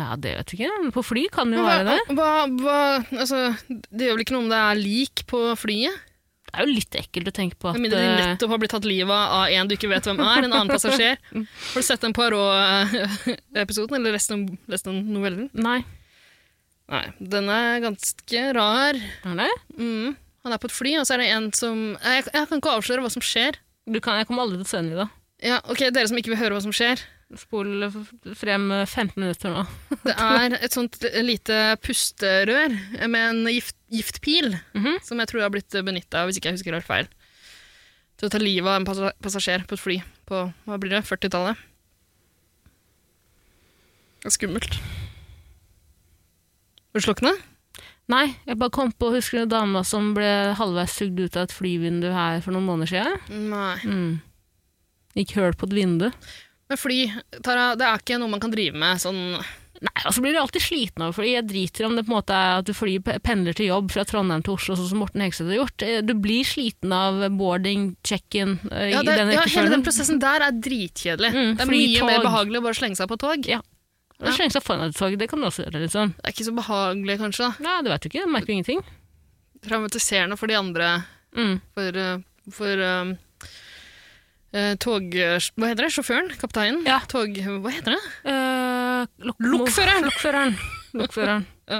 [SPEAKER 2] Ja, det vet vi ikke. Men på fly kan det
[SPEAKER 3] Men
[SPEAKER 2] jo være
[SPEAKER 3] Hva,
[SPEAKER 2] det.
[SPEAKER 3] hva, hva, altså, det gjør vel ikke noe om det er lik på flyet?
[SPEAKER 2] Det er jo litt ekkelt å tenke på at
[SPEAKER 3] Med mindre de
[SPEAKER 2] eh,
[SPEAKER 3] nettopp har blitt tatt livet av av en du ikke vet hvem er, en
[SPEAKER 2] <laughs>
[SPEAKER 3] annen passasjer.
[SPEAKER 2] Mm.
[SPEAKER 3] Har du sett den Poirot-episoden, eller lest den, lest den novellen?
[SPEAKER 2] Nei.
[SPEAKER 3] Nei, den er ganske rar.
[SPEAKER 2] Er det?
[SPEAKER 3] Mm. Han er på et fly, og så er det en som Nei, Jeg, jeg kan ikke avsløre hva som skjer.
[SPEAKER 2] Du kan, jeg kommer aldri til å se den i dag.
[SPEAKER 3] Ja, ok, Dere som ikke vil høre hva som skjer.
[SPEAKER 2] Spol frem 15 minutter nå.
[SPEAKER 3] Det er et sånt lite pusterør med en gift, giftpil,
[SPEAKER 2] Mhm.
[SPEAKER 3] som jeg tror har blitt benytta, hvis ikke jeg husker helt feil, til å ta livet av en passa- passasjer på et fly på hva blir det, 40-tallet. Det er skummelt. Vil du slukne?
[SPEAKER 2] Nei, jeg bare kom på å huske den dama som ble halvveis sugd ut av et flyvindu her for noen måneder siden.
[SPEAKER 3] Nei.
[SPEAKER 2] Mm. Gikk høl på et vindu.
[SPEAKER 3] Men fly, Tara, det er ikke noe man kan drive med sånn
[SPEAKER 2] Nei, og så blir du alltid sliten av fordi jeg driter om det på en måte er at du flyr, pendler til jobb fra Trondheim til Oslo, sånn som Morten Hegseth har gjort. Eh, Du blir sliten av boarding, check-in eh,
[SPEAKER 3] ja,
[SPEAKER 2] i
[SPEAKER 3] det,
[SPEAKER 2] den
[SPEAKER 3] ja, Hele den
[SPEAKER 2] rekkefølgen.
[SPEAKER 3] prosessen der er dritkjedelig.
[SPEAKER 2] Mm,
[SPEAKER 3] det er
[SPEAKER 2] fly,
[SPEAKER 3] mye
[SPEAKER 2] tog.
[SPEAKER 3] mer behagelig å bare slenge seg på tog.
[SPEAKER 2] Ja. Du slenger seg foran et tog, det kan du også gjøre, liksom.
[SPEAKER 3] Det er ikke så behagelig, kanskje. da.
[SPEAKER 2] Nei, det vet du ikke, du merker jo ingenting.
[SPEAKER 3] Traumatiserende for de andre.
[SPEAKER 2] Mm.
[SPEAKER 3] For, eh, for eh, eh, tog... Hva heter det? Sjåføren? Kapteinen?
[SPEAKER 2] Ja.
[SPEAKER 3] Tog... Hva heter det?
[SPEAKER 2] Eh, lok-
[SPEAKER 3] Lokføreren!
[SPEAKER 2] Lokføreren. Lokføreren.
[SPEAKER 3] <laughs> Ja.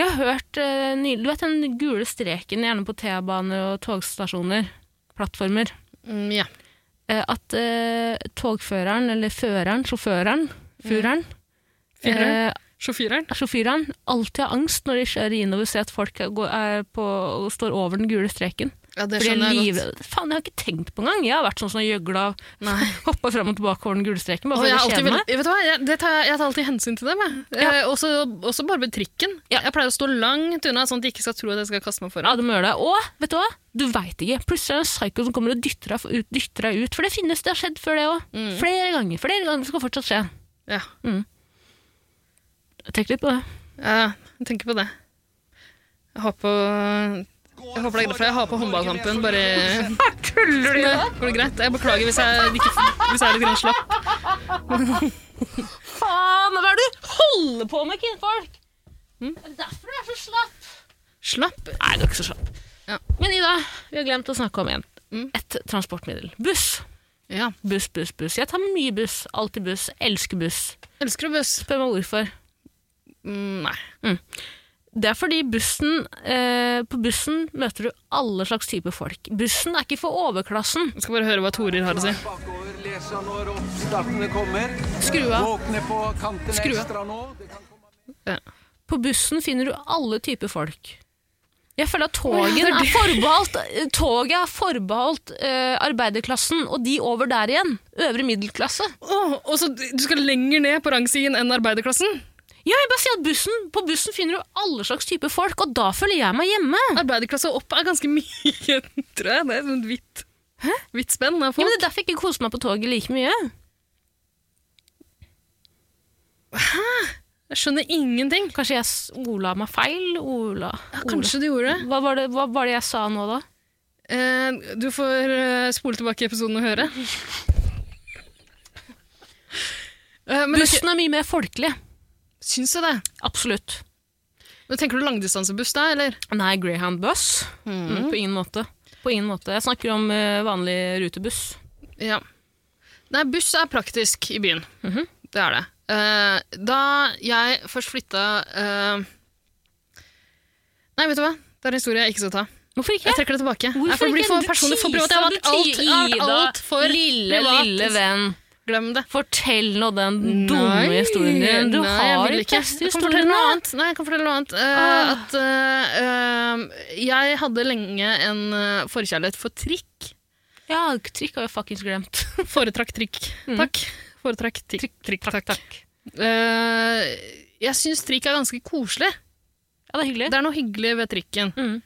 [SPEAKER 2] Jeg har hørt eh, ny- Du vet den gule streken gjerne på T-baner og togstasjoner, plattformer,
[SPEAKER 3] Mm, ja.
[SPEAKER 2] eh, at eh, togføreren, eller føreren, sjåføren,
[SPEAKER 3] Mm.
[SPEAKER 2] fureren,
[SPEAKER 3] Fyreren?
[SPEAKER 2] eh,
[SPEAKER 3] Sjåføren?
[SPEAKER 2] sjåføren, alltid har angst når de kjører inn og ser at folk er, går- er på, og står over den gule streken.
[SPEAKER 3] Ja, det
[SPEAKER 2] For de er
[SPEAKER 3] skjønner jeg godt.
[SPEAKER 2] livredd. Faen, jeg har ikke tenkt på engang. Jeg har vært sånn som har gjøgla, <laughs>
[SPEAKER 3] Nei.
[SPEAKER 2] hoppa frem og tilbake over den gule streken. Bare
[SPEAKER 3] Og
[SPEAKER 2] for
[SPEAKER 3] jeg, er
[SPEAKER 2] å
[SPEAKER 3] alltid
[SPEAKER 2] kjede meg.
[SPEAKER 3] veldig- vet du hva, jeg, det tar, jeg- jeg tar alltid hensyn til dem. Jeg.
[SPEAKER 2] Ja.
[SPEAKER 3] Eh, også, også bare med trikken.
[SPEAKER 2] Ja.
[SPEAKER 3] Jeg pleier å stå langt unna, sånn at de ikke skal tro at jeg skal kaste meg foran.
[SPEAKER 2] Ja, du må gjøre det. Og, vet du hva? Du veit ikke. Plutselig er det en psyko som kommer og dytter deg ut, dytter deg ut. For det finnes, det har skjedd før det òg.
[SPEAKER 3] Mm.
[SPEAKER 2] Flere ganger. Flere ganger. Det skal fortsatt skje.
[SPEAKER 3] Ja.
[SPEAKER 2] Tenk litt på det.
[SPEAKER 3] Ja, Eh, jeg tenker på det. Jeg har på jeg håper det er greit, for jeg har på håndballkampen. Bare Tuller du med Går det greit? Jeg beklager hvis jeg, ikke, hvis jeg er litt grann slapp.
[SPEAKER 2] Faen, hva er det du holder på med, kvinnfolk? Er det derfor du er så slapp?
[SPEAKER 3] Slapp?
[SPEAKER 2] Mm. Nei, du er ikke så slapp.
[SPEAKER 3] Ja.
[SPEAKER 2] Men Ida, vi har glemt å snakke om en.
[SPEAKER 3] Mm.
[SPEAKER 2] et transportmiddel. Buss.
[SPEAKER 3] Ja.
[SPEAKER 2] Buss, buss, buss. Jeg tar mye buss. Alltid buss. Elsker buss.
[SPEAKER 3] Elsker du buss?
[SPEAKER 2] Spør meg hvorfor.
[SPEAKER 3] Mm, nei.
[SPEAKER 2] Det er fordi bussen, eh, på bussen møter du alle slags typer folk. Bussen er ikke for overklassen.
[SPEAKER 3] Jeg skal bare høre hva Torir har å si.
[SPEAKER 4] Bakover, les han når oppstartene kommer.
[SPEAKER 3] Skru av.
[SPEAKER 4] Våkne på kanten
[SPEAKER 3] Skru av.
[SPEAKER 4] ekstra nå. Det kan komme
[SPEAKER 2] På bussen finner du alle typer folk. Jeg føler at togen
[SPEAKER 3] Å, ja, det er
[SPEAKER 2] er,
[SPEAKER 3] det.
[SPEAKER 2] forbeholdt, toget er forbeholdt eh, arbeiderklassen, og de over der igjen. Øvre middelklasse.
[SPEAKER 3] Åh, og så du skal lenger ned på rangstigen enn arbeiderklassen?
[SPEAKER 2] Ja, jeg bare sier at bussen, På bussen finner du alle slags typer folk, og da føler jeg meg hjemme.
[SPEAKER 3] Arbeiderklasse opp er ganske <laughs> mye, tror jeg. Det er sånn hvitt hvitt spenn
[SPEAKER 2] Ja,
[SPEAKER 3] av
[SPEAKER 2] men
[SPEAKER 3] folk.
[SPEAKER 2] Det er derfor jeg ikke koser meg på toget like mye.
[SPEAKER 3] Jeg skjønner ingenting.
[SPEAKER 2] Kanskje jeg s- Ola meg feil? Ola,
[SPEAKER 3] Ja,
[SPEAKER 2] Ola.
[SPEAKER 3] kanskje du gjorde det.
[SPEAKER 2] Hva, var det, hva var det jeg sa nå, da?
[SPEAKER 3] Eh, du får eh, spole tilbake i episoden og <laughs> høre. Eh, men jeg
[SPEAKER 2] Bussen er mye mer folkelig.
[SPEAKER 3] syns du det?
[SPEAKER 2] Absolutt.
[SPEAKER 3] Men tenker du langdistansebuss da, eller?
[SPEAKER 2] Nei, Greyhound buss. Mm, på ingen måte. På ingen måte. Jeg snakker om eh, vanlig rutebuss.
[SPEAKER 3] Ja. Nei, buss er praktisk i byen.
[SPEAKER 2] Mhm.
[SPEAKER 3] Det er det. Eh, da jeg først flytta eh, Nei, vet du hva? Det er en historie jeg ikke skal ta.
[SPEAKER 2] Hvorfor ikke?
[SPEAKER 3] Jeg trekker det tilbake.
[SPEAKER 2] Hvorfor
[SPEAKER 3] Nei, for det blir
[SPEAKER 2] ikke?
[SPEAKER 3] for
[SPEAKER 2] Du
[SPEAKER 3] personlig for privat.
[SPEAKER 2] teaser, du
[SPEAKER 3] Jeg har vært alt, jeg har vært
[SPEAKER 2] teaser,
[SPEAKER 3] alt for
[SPEAKER 2] lille,
[SPEAKER 3] privat.
[SPEAKER 2] lille venn.
[SPEAKER 3] Glem det.
[SPEAKER 2] Fortell nå den dumme
[SPEAKER 3] Nei,
[SPEAKER 2] historien din. Du
[SPEAKER 3] nei, jeg
[SPEAKER 2] har
[SPEAKER 3] vil
[SPEAKER 2] ikke beste
[SPEAKER 3] Jeg kan fortelle
[SPEAKER 2] historien
[SPEAKER 3] noe
[SPEAKER 2] nå.
[SPEAKER 3] annet. Nei, jeg kan fortelle noe annet. Eh,
[SPEAKER 2] Ah.
[SPEAKER 3] At eh, eh, jeg hadde lenge en eh, forkjærlighet for trikk.
[SPEAKER 2] Ja, trikk har jeg fuckings glemt.
[SPEAKER 3] Foretrakk trikk. Takk. Foretrakk trikk. trikk, <laughs> takk.
[SPEAKER 2] Mm. takk.
[SPEAKER 3] Eh, jeg syns trikk er ganske koselig.
[SPEAKER 2] Ja, det er hyggelig.
[SPEAKER 3] Det er noe hyggelig ved trikken.
[SPEAKER 2] Mm.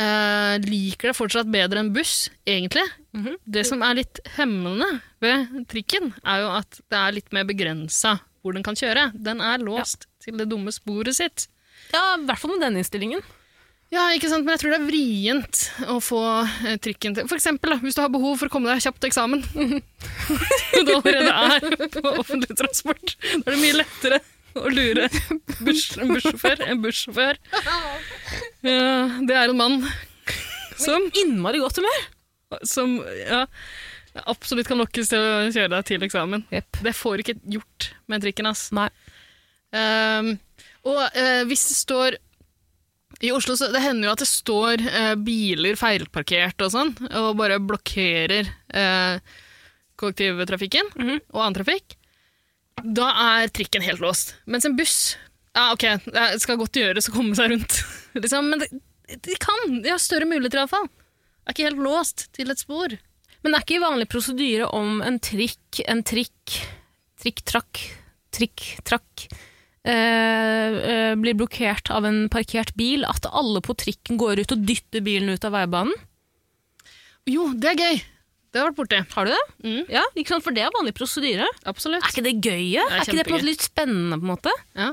[SPEAKER 3] Eh, liker det fortsatt bedre enn buss, egentlig.
[SPEAKER 2] Mhm.
[SPEAKER 3] Det som er litt hemmende ved trikken, er jo at det er litt mer begrensa hvor den kan kjøre. Den er låst til det dumme sporet sitt.
[SPEAKER 2] Ja, i hvert fall med denne innstillingen.
[SPEAKER 3] Ja, ikke sant? Men jeg tror det er vrient å få eh, trikken til For eksempel, da, hvis du har behov for å komme deg kjapt til eksamen. <laughs> Som du allerede er på offentlig transport. Da er det mye lettere å lure buss, en bussjåfør enn bussjåfør. Ja, det er en mann som,
[SPEAKER 2] Innmari godt humør.
[SPEAKER 3] som ja, absolutt kan lokkes til å kjøre deg til eksamen.
[SPEAKER 2] Jepp.
[SPEAKER 3] Det får du ikke gjort med trikken, ass.
[SPEAKER 2] Nei.
[SPEAKER 3] Um, og eh, hvis det står I Oslo så det hender jo at det står eh, biler feilparkert og sånn, og bare blokkerer eh, kollektivtrafikken
[SPEAKER 2] Mhm.
[SPEAKER 3] og annen trafikk. Da er trikken helt låst. Mens en buss ja, ok, <laughs> det skal godt gjøres å komme seg rundt. liksom, men det, de kan. De har større muligheter, iallfall. er ikke helt låst til et spor.
[SPEAKER 2] Men er ikke vanlig prosedyre om en trikk, en trikk, trikk-trakk, trikk-trakk eh, eh, blir blokkert av en parkert bil, at alle på trikken går ut og dytter bilen ut av veibanen?
[SPEAKER 3] Jo, det er gøy! Det har vært borti.
[SPEAKER 2] Har du det?
[SPEAKER 3] Mm.
[SPEAKER 2] Ja, ikke sant? For det er vanlig prosedyre.
[SPEAKER 3] Absolutt.
[SPEAKER 2] Er ikke det gøye?
[SPEAKER 3] er
[SPEAKER 2] Er, ikke det på en
[SPEAKER 3] kjempegøy.
[SPEAKER 2] måte litt spennende, på en måte?
[SPEAKER 3] Ja.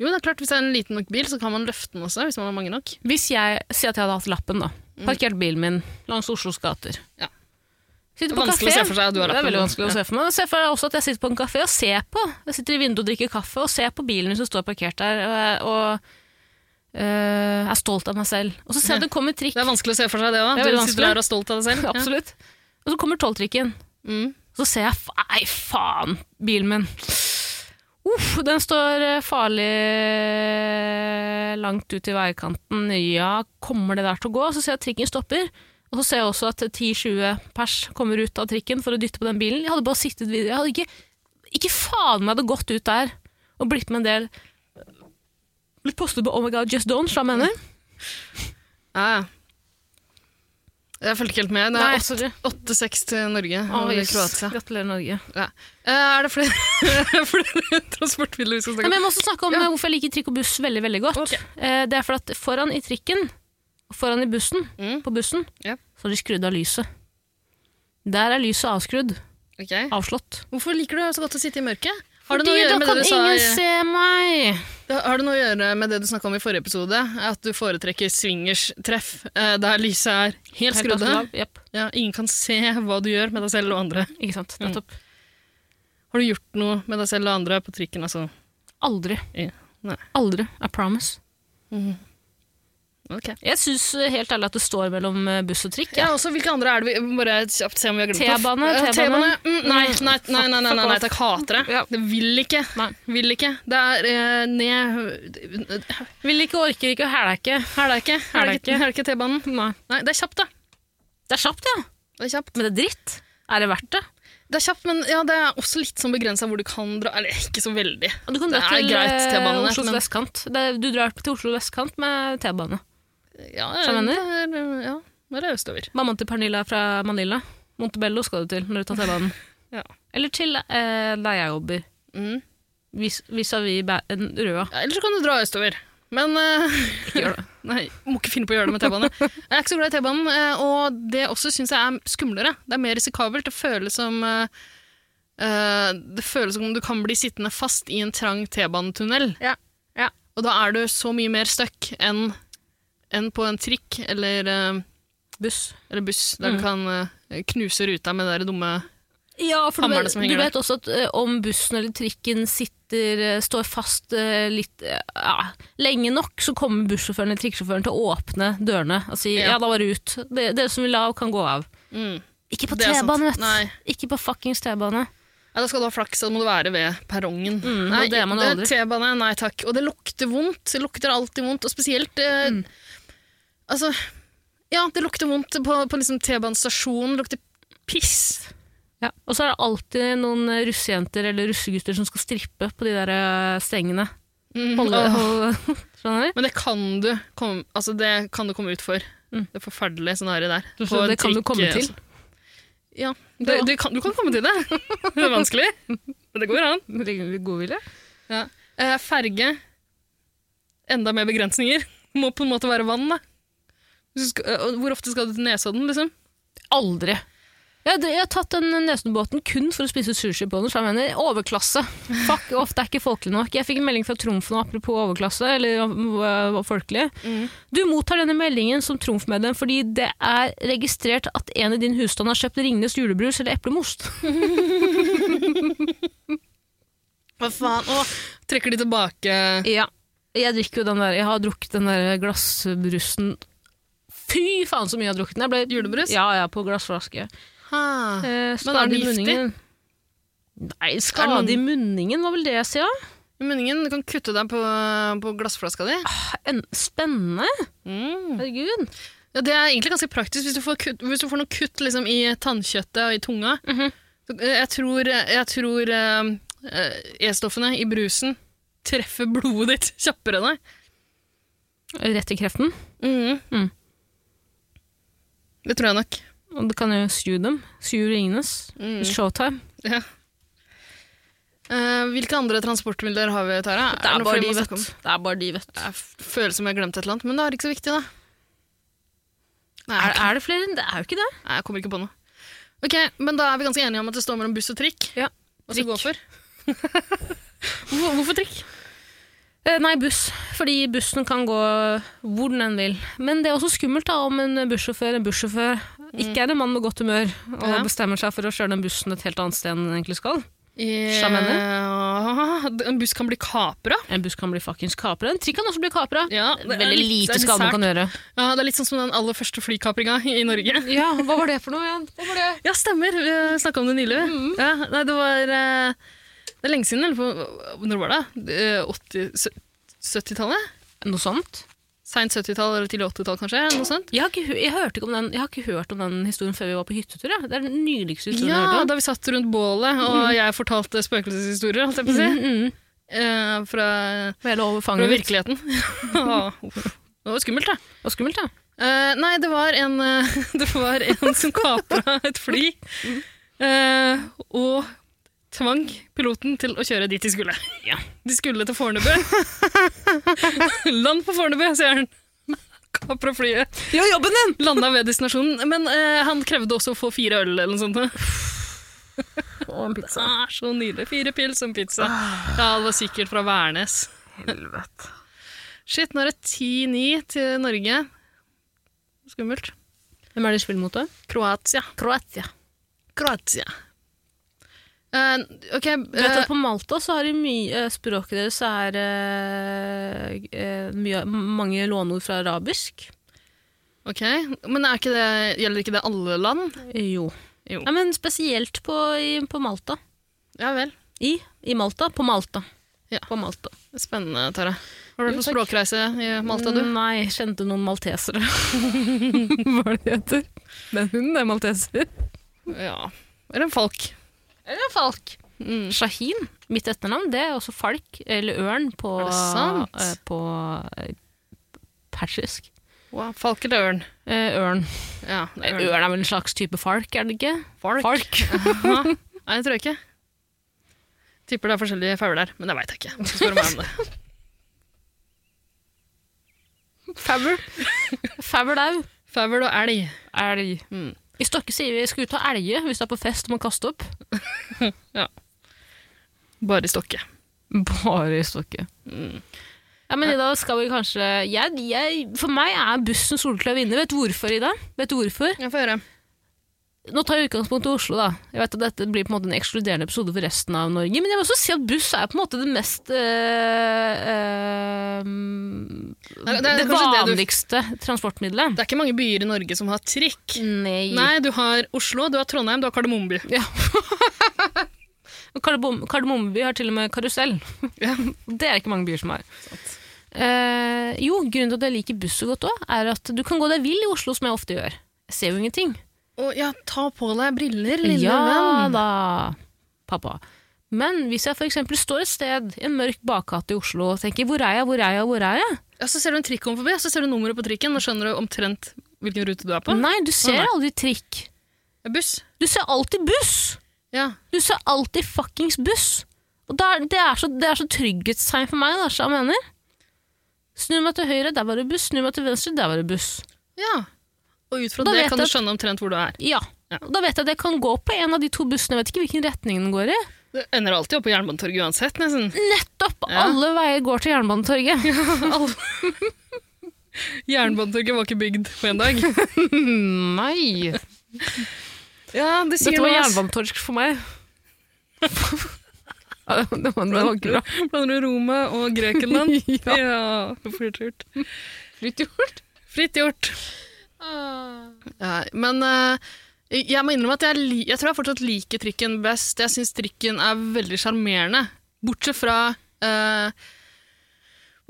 [SPEAKER 3] Jo, det er klart, hvis det er en liten nok bil, så kan man løfte den også, hvis man har mange nok.
[SPEAKER 2] Hvis jeg sier at jeg hadde hatt lappen, da. Parkert bilen min langs Oslos gater.
[SPEAKER 3] Mm. Ja.
[SPEAKER 2] Sitter
[SPEAKER 3] Det er
[SPEAKER 2] på
[SPEAKER 3] vanskelig å
[SPEAKER 2] kafé.
[SPEAKER 3] se for seg at du har
[SPEAKER 2] Det er
[SPEAKER 3] lappen.
[SPEAKER 2] veldig vanskelig å se for meg. Jeg ser for meg også at jeg sitter på en kafé og ser på. Jeg sitter i vinduet og drikker kaffe og ser på bilen som står parkert der, og, jeg- og øh, er stolt av meg selv. Og så ser jeg at det kommer trikk.
[SPEAKER 3] Det er vanskelig å se for seg det òg.
[SPEAKER 2] Det er veldig
[SPEAKER 3] Du sitter
[SPEAKER 2] vanskelig.
[SPEAKER 3] der og er stolt av deg <laughs> selv.
[SPEAKER 2] <laughs>
[SPEAKER 3] Ja.
[SPEAKER 2] Absolutt. Og så kommer tolvtrikken.
[SPEAKER 3] Mm.
[SPEAKER 2] Så ser jeg fa- Nei, faen, bilen min. Uff, den står eh, farlig langt ut i veikanten. Ja, kommer det der til å gå? Så ser jeg at trikken stopper. Og så ser jeg også at 10-20 pers kommer ut av trikken for å dytte på den bilen. Jeg hadde bare sittet videre. Jeg hadde ikke, ikke faen meg hadde gått ut der og blitt med en del Blitt postet på Oh my God, Just Don't, som jeg mener.
[SPEAKER 3] Ja, ja. Jeg følger ikke helt med. Det
[SPEAKER 2] Nei,
[SPEAKER 3] er
[SPEAKER 2] sorry.
[SPEAKER 3] 8-6 til Norge og
[SPEAKER 2] Å, jøss.
[SPEAKER 3] Kroatia.
[SPEAKER 2] Gratulerer, Norge.
[SPEAKER 3] Ja. Eh, Er det flere, <laughs> flere transportmidler vi skal
[SPEAKER 2] Nei, men
[SPEAKER 3] snakke om?
[SPEAKER 2] jeg må også snakke om
[SPEAKER 3] Ja.
[SPEAKER 2] eh, hvorfor jeg liker trikk og buss veldig veldig godt.
[SPEAKER 3] Ok.
[SPEAKER 2] Eh, Det er for at foran i trikken, og foran i bussen,
[SPEAKER 3] Mm.
[SPEAKER 2] på bussen,
[SPEAKER 3] Ja.
[SPEAKER 2] så har de skrudd av lyset. Der er lyset avskrudd.
[SPEAKER 3] Ok.
[SPEAKER 2] Avslått.
[SPEAKER 3] Hvorfor liker du så godt å sitte i mørket? Har det,
[SPEAKER 2] Fordi
[SPEAKER 3] noe å
[SPEAKER 2] da
[SPEAKER 3] gjøre med
[SPEAKER 2] kan
[SPEAKER 3] det du sa,
[SPEAKER 2] ingen
[SPEAKER 3] i-
[SPEAKER 2] se meg!
[SPEAKER 3] det- har det noe å gjøre med det du snakka om i forrige episode? At du foretrekker swingers-treff eh, der lyset er helt skrudd av?
[SPEAKER 2] av. Jep,
[SPEAKER 3] Ja, ingen kan se hva du gjør med deg selv og andre.
[SPEAKER 2] ikke sant.
[SPEAKER 3] Mm.
[SPEAKER 2] Nettopp.
[SPEAKER 3] Har du gjort noe med deg selv og andre på trikken? Altså?
[SPEAKER 2] Aldri.
[SPEAKER 3] Ja. Nei.
[SPEAKER 2] Aldri. I promise.
[SPEAKER 3] Ok.
[SPEAKER 2] Jeg syns helt ærlig at det står mellom eh, buss og trikk.
[SPEAKER 3] Ja, også, hvilke andre er det vi Bare kjapt se om vi har glemt noe.
[SPEAKER 2] T-bane,
[SPEAKER 3] Ja,
[SPEAKER 2] T-bane.
[SPEAKER 3] Mm, nei, nei, nei, nei, nei, nei,
[SPEAKER 2] Fuck
[SPEAKER 3] nei,
[SPEAKER 2] off.
[SPEAKER 3] takk, hater det.
[SPEAKER 2] Ja.
[SPEAKER 3] Det vil ikke.
[SPEAKER 2] Nei.
[SPEAKER 3] Vil ikke. Det er eh, ned
[SPEAKER 2] Vil ikke, orker ikke og hæler ikke.
[SPEAKER 3] Her er det ikke. Her er det ikke, her er det ikke T-banen.
[SPEAKER 2] Nei.
[SPEAKER 3] Nei, det er kjapt, da.
[SPEAKER 2] Det er kjapt, ja.
[SPEAKER 3] Det er kjapt.
[SPEAKER 2] Men det er dritt. Er det verdt det?
[SPEAKER 3] Det er kjapt, men ja, det er også litt sånn begrensa hvor du kan dra. Eller ikke så veldig.
[SPEAKER 2] Du kan
[SPEAKER 3] Det
[SPEAKER 2] dra
[SPEAKER 3] er
[SPEAKER 2] til
[SPEAKER 3] greit,
[SPEAKER 2] eh,
[SPEAKER 3] T-banen,
[SPEAKER 2] Oslos
[SPEAKER 3] men-
[SPEAKER 2] vestkant. Det, du drar til Oslo vestkant med T-bane.
[SPEAKER 3] Ja,
[SPEAKER 2] Skjønner
[SPEAKER 3] det er- Ja, det er østover.
[SPEAKER 2] Mammaen til Pernilla er fra Manila. Montebello skal du til når du tar <laughs> T-banen.
[SPEAKER 3] Ja.
[SPEAKER 2] Eller til eh, der jeg jobber.
[SPEAKER 3] Mm.
[SPEAKER 2] Vis- Vis-à-vis bæ- en Røa.
[SPEAKER 3] Ja, Eller så kan du dra østover. Men eh,
[SPEAKER 2] Ikke gjør det.
[SPEAKER 3] Nei, må ikke finne på å gjøre det
[SPEAKER 2] <laughs>
[SPEAKER 3] med T-bane. Jeg er ikke så glad i T-banen, eh, og det også syns jeg er skumlere. Det er mer risikabelt. Det føles som eh, eh, Det føles som om du kan bli sittende fast i en trang T-banetunnel.
[SPEAKER 2] Ja, ja.
[SPEAKER 3] Og da er du så mye mer stuck enn enn på en trikk eller, eh,
[SPEAKER 2] Buss.
[SPEAKER 3] eller buss,
[SPEAKER 2] Mm.
[SPEAKER 3] der du kan eh, knuse ruta med det der dumme
[SPEAKER 2] Ja, for du
[SPEAKER 3] Hammerne
[SPEAKER 2] vet,
[SPEAKER 3] som
[SPEAKER 2] du
[SPEAKER 3] henger
[SPEAKER 2] vet også at eh, om bussen eller trikken sitter, eh, står fast eh, litt eh, ja, lenge nok, så kommer bussjåføren eller trikksjåføren til å åpne dørene og si ja,
[SPEAKER 3] Ja.
[SPEAKER 2] da var det ut. De- Dere som vil av, kan gå av.
[SPEAKER 3] mm.
[SPEAKER 2] Ikke på
[SPEAKER 3] Det er sant.
[SPEAKER 2] T-bane, vet
[SPEAKER 3] Nei.
[SPEAKER 2] du. Ikke på fuckings T-bane.
[SPEAKER 3] Ja, Da skal du ha flaks, da må du være ved perrongen.
[SPEAKER 2] Mm, og det er man jo aldri.
[SPEAKER 3] T-bane, nei takk. Og det lukter vondt. Det lukter alltid vondt, og spesielt eh,
[SPEAKER 2] Mm.
[SPEAKER 3] Altså, ja, det lukter vondt på, på liksom T-banestasjonen. Det lukter piss.
[SPEAKER 2] Ja. Og så er det alltid noen eh, russejenter eller russegutter som skal strippe på de der eh, stengene.
[SPEAKER 3] Mm,
[SPEAKER 2] <laughs> Holde,
[SPEAKER 3] åh.
[SPEAKER 2] holde, skjønner du?
[SPEAKER 3] Men det kan du komme, altså det kan du komme ut for. Det forferdelige scenarioet der.
[SPEAKER 2] Så
[SPEAKER 3] På en
[SPEAKER 2] det kan Mm. du
[SPEAKER 3] trikk,
[SPEAKER 2] komme
[SPEAKER 3] eh,
[SPEAKER 2] til.
[SPEAKER 3] altså. Ja, det, du, kan, du kan komme til det. <laughs> Det er vanskelig, men det går an.
[SPEAKER 2] Godvilje?
[SPEAKER 3] Ja. Eh, ferge. Enda mer begrensninger. <laughs> Må på en måte være vann, da. Hvis du skal, eh, og hvor ofte skal du til Nesodden, liksom?
[SPEAKER 2] Aldri. Jeg, har- jeg har tatt den nesenbåten kun for å spise sushi på den, så jeg mener overklasse. Fuck off, det er ikke folkelig nok. Jeg fikk en melding fra Trumf nå, apropos overklasse, eller øh, folkelig. Du mottar denne meldingen som Trumf-medlem fordi det er registrert at en i din husstand har kjøpt Ringnes julebrus eller eplemost.
[SPEAKER 3] Hva faen? Åh, trekker de tilbake
[SPEAKER 2] Ja. Jeg drikker jo den der, jeg har drukket den der glassbrusen. Fy faen så mye jeg har drukket den. Jeg ble,
[SPEAKER 3] julebrus?
[SPEAKER 2] ja, ja, på glassflaske.
[SPEAKER 3] Ha.
[SPEAKER 2] Eh,
[SPEAKER 3] Men er den
[SPEAKER 2] skade i
[SPEAKER 3] giftig?
[SPEAKER 2] munningen. Nei,
[SPEAKER 3] Er
[SPEAKER 2] skade
[SPEAKER 3] det
[SPEAKER 2] i munningen, var vel det jeg sier? da?
[SPEAKER 3] Munningen, du kan kutte deg på, på glassflaska di.
[SPEAKER 2] En, spennende,
[SPEAKER 3] Mm.
[SPEAKER 2] herregud.
[SPEAKER 3] Ja, det er egentlig ganske praktisk hvis du får, kutt, hvis du får noe kutt liksom, i tannkjøttet og i tunga. Så, eh, Jeg tror, jeg tror eh, eh, E-stoffene i brusen treffer blodet ditt kjappere enn deg.
[SPEAKER 2] Rett i kreften.
[SPEAKER 3] Mm.
[SPEAKER 2] Mm.
[SPEAKER 3] Det tror jeg nok.
[SPEAKER 2] Og du kan jo sju dem. Sju Ringnes. Showtime.
[SPEAKER 3] Ja. Eh, hvilke andre transportmidler har vi, Tara?
[SPEAKER 2] Det er,
[SPEAKER 3] noe
[SPEAKER 2] bare de,
[SPEAKER 3] flere vi må
[SPEAKER 2] vet
[SPEAKER 3] snakke om?
[SPEAKER 2] du. Det er bare de, vet du.
[SPEAKER 3] Jeg f- føler som jeg har glemt et eller annet, men det er ikke så viktig, da. Nei,
[SPEAKER 2] Er,
[SPEAKER 3] jeg, kan-
[SPEAKER 2] er det flere? Det er jo ikke det.
[SPEAKER 3] nei, jeg kommer ikke på noe. Ok, Men da er vi ganske enige om at det står mellom buss og trikk.
[SPEAKER 2] Ja,
[SPEAKER 3] Hva skal vi gå for?
[SPEAKER 2] Hvor- Hvorfor trikk? Eh, nei, buss. Fordi bussen kan gå hvor den enn vil. Men det er også skummelt da, om en bussjåfør en bussjåfør ikke er en mann med godt humør og
[SPEAKER 3] Ja.
[SPEAKER 2] bestemmer seg for å kjøre den bussen et helt annet sted enn den egentlig skal.
[SPEAKER 3] Ja, Eh, <laughs> en buss kan bli kapra.
[SPEAKER 2] En buss kan bli fuckings kapra. En trikk kan også bli kapra.
[SPEAKER 3] Ja, det
[SPEAKER 2] Veldig
[SPEAKER 3] er litt- det er
[SPEAKER 2] lite
[SPEAKER 3] litt
[SPEAKER 2] skade man
[SPEAKER 3] sært.
[SPEAKER 2] kan gjøre.
[SPEAKER 3] Ja, det er litt sånn som den aller første flykapringa i Norge.
[SPEAKER 2] Ja, Hva var det for noe igjen? Hva var det?
[SPEAKER 3] Ja, stemmer. Vi snakka om det nylig. Ja, nei, det var eh, Det er lenge siden. Eller på, når var det? Eh, 80 sø- 70-tallet?
[SPEAKER 2] Noe sånt?
[SPEAKER 3] Seint 70-tall eller tidlig 80-tall, kanskje? Noe sånt.
[SPEAKER 2] Jeg har, ikke, hø- jeg, hørte ikke om den, jeg har ikke hørt om den historien før vi var på hyttetur. Ja. Det er den nyligste historien jeg
[SPEAKER 3] Ja,
[SPEAKER 2] har hørt om.
[SPEAKER 3] da vi satt rundt bålet, og jeg fortalte spøkelseshistorier, holdt jeg på å si.
[SPEAKER 2] Mm, mm.
[SPEAKER 3] Eh, fra,
[SPEAKER 2] Vel over
[SPEAKER 3] fra
[SPEAKER 2] fanget mitt.
[SPEAKER 3] virkeligheten. <laughs> Ja, uff. det var skummelt, da.
[SPEAKER 2] Det var skummelt, ja.
[SPEAKER 3] Eh, nei, det var en, eh, <laughs> det var en som kapra et fly. eh, og tvang piloten til å kjøre dit de skulle.
[SPEAKER 2] Ja.
[SPEAKER 3] De skulle
[SPEAKER 2] <laughs>
[SPEAKER 3] til Fornebu. Land på Fornebu, sier han. Kapra flyet.
[SPEAKER 2] Gjør jobben din!
[SPEAKER 3] Landa ved destinasjonen. Men eh, han krevde også å få fire øl eller noe sånt.
[SPEAKER 2] Og en pizza.
[SPEAKER 3] Det er så nydelig. Fire pils og en pizza. Ja, det var sikkert fra Værnes.
[SPEAKER 2] Helvete.
[SPEAKER 3] Shit, nå er det 10-9 til Norge. Skummelt.
[SPEAKER 2] Hvem er det de spiller mot, da?
[SPEAKER 3] Kroatia.
[SPEAKER 2] Kroatia.
[SPEAKER 3] Kroatia. Eh, ok,
[SPEAKER 2] Jeg vet
[SPEAKER 3] eh,
[SPEAKER 2] at På Malta så har de mye eh, Språket deres er eh, eh, mye, mange låneord fra arabisk.
[SPEAKER 3] ok, men er ikke det, gjelder ikke det alle land?
[SPEAKER 2] Jo.
[SPEAKER 3] Jo.
[SPEAKER 2] Nei, men spesielt på, i, på Malta.
[SPEAKER 3] Ja vel.
[SPEAKER 2] I, I Malta. På Malta.
[SPEAKER 3] Ja.
[SPEAKER 2] På Malta.
[SPEAKER 3] Spennende, Tara. Har du
[SPEAKER 2] Jo, takk.
[SPEAKER 3] vært på
[SPEAKER 2] Mm,
[SPEAKER 3] språkreise i Malta, du?
[SPEAKER 2] Nei, jeg kjente noen
[SPEAKER 3] <laughs>
[SPEAKER 2] maltesere. Hva er det de heter? Den hunden er malteser.
[SPEAKER 3] Ja. Eller en falk.
[SPEAKER 2] Eller en falk.
[SPEAKER 3] Mm.
[SPEAKER 2] Shahin, mitt etternavn, det er også falk, eller ørn, på,
[SPEAKER 3] Er det sant?
[SPEAKER 2] eh, på eh, persisk.
[SPEAKER 3] Wow, falk eller ørn?
[SPEAKER 2] Eh, ørn.
[SPEAKER 3] Ja,
[SPEAKER 2] Nei, Ørn er vel en slags type falk, er det ikke?
[SPEAKER 3] Falk?
[SPEAKER 2] Falk.
[SPEAKER 3] Aha. Nei, det tror jeg ikke. Tipper det er forskjellige fauler, men det veit jeg ikke. Du skal spørre meg om det.
[SPEAKER 2] Fabel. <laughs> Fabelau.
[SPEAKER 3] Faul og elg.
[SPEAKER 2] Elg.
[SPEAKER 3] Mm.
[SPEAKER 2] I Stokke sier vi skal ut av elge hvis du er på fest og må kaste opp.
[SPEAKER 3] Bare i stokke.
[SPEAKER 2] Bare i Stokke. Mm. Ja, men Ida, skal vi kanskje jeg, jeg, For meg er bussen soleklar vinner. Vet du hvorfor, Ida? Vet du hvorfor?
[SPEAKER 3] Jeg får høre.
[SPEAKER 2] Nå tar jeg utgangspunkt i Oslo, da. Jeg vet at Dette blir på en måte en ekskluderende episode for resten av Norge. Men jeg vil også si at buss er på en måte det mest øh, øh,
[SPEAKER 3] Nei, det er
[SPEAKER 2] Det,
[SPEAKER 3] kanskje det du-
[SPEAKER 2] vanligste transportmiddelet.
[SPEAKER 3] Det er ikke mange byer i Norge som har trikk.
[SPEAKER 2] Nei.
[SPEAKER 3] Nei, du har Oslo, du har Trondheim, du har Kardemommeby.
[SPEAKER 2] Og Kardebom Kardemommeby har til og med karusell.
[SPEAKER 3] Ja.
[SPEAKER 2] <laughs> Det er ikke mange byer som har. Eh, jo, grunnen til at jeg liker buss så godt òg, er at du kan gå deg vill i Oslo, som jeg ofte gjør. Jeg ser jo ingenting.
[SPEAKER 3] Å, ja, ta på deg briller, lille
[SPEAKER 2] ja
[SPEAKER 3] venn.
[SPEAKER 2] da, pappa. Men hvis jeg f.eks. står et sted i en mørk bakgate i Oslo og tenker 'hvor er jeg, hvor er jeg, hvor er jeg?'
[SPEAKER 3] Ja, så ser du en trikk komme forbi, så ser du nummeret på trikken, og skjønner du omtrent hvilken rute du er på.
[SPEAKER 2] Nei, du ser
[SPEAKER 3] Å, nei.
[SPEAKER 2] aldri trikk.
[SPEAKER 3] Buss.
[SPEAKER 2] Du ser alltid buss!
[SPEAKER 3] Ja.
[SPEAKER 2] Du ser alltid fuckings buss! Og da er- det, er så, det er så trygghetstegn for meg, da, så jeg mener. Snu meg til høyre, der var det buss. Snu meg til venstre, der var det buss.
[SPEAKER 3] ja. Og ut fra
[SPEAKER 2] Da
[SPEAKER 3] det
[SPEAKER 2] vet
[SPEAKER 3] kan
[SPEAKER 2] jeg
[SPEAKER 3] du
[SPEAKER 2] at-
[SPEAKER 3] skjønne omtrent hvor du er.
[SPEAKER 2] Ja.
[SPEAKER 3] Ja.
[SPEAKER 2] Og Da vet jeg at jeg kan gå på en av de to bussene. Jeg vet ikke hvilken retning den går i.
[SPEAKER 3] Du ender alltid opp på Jernbanetorget uansett, nesten.
[SPEAKER 2] Nettopp!
[SPEAKER 3] Ja.
[SPEAKER 2] Alle veier går til Jernbanetorget.
[SPEAKER 3] <laughs> Jernbanetorget var ikke bygd på en dag.
[SPEAKER 2] Nei!
[SPEAKER 3] <laughs> Ja, det
[SPEAKER 2] Dette var
[SPEAKER 3] noe, ass.
[SPEAKER 2] jernbanetorsk for meg.
[SPEAKER 3] <laughs>
[SPEAKER 2] ja, det, det, var, det var ikke bra.
[SPEAKER 3] Blander du Roma og Grekenland? <laughs> ja. Fritt gjort. Fritt gjort? Fritt gjort. Ja, men eh, jeg må innrømme at jeg, li- jeg tror jeg fortsatt liker trikken best. Jeg syns trikken er veldig sjarmerende. Bortsett fra eh,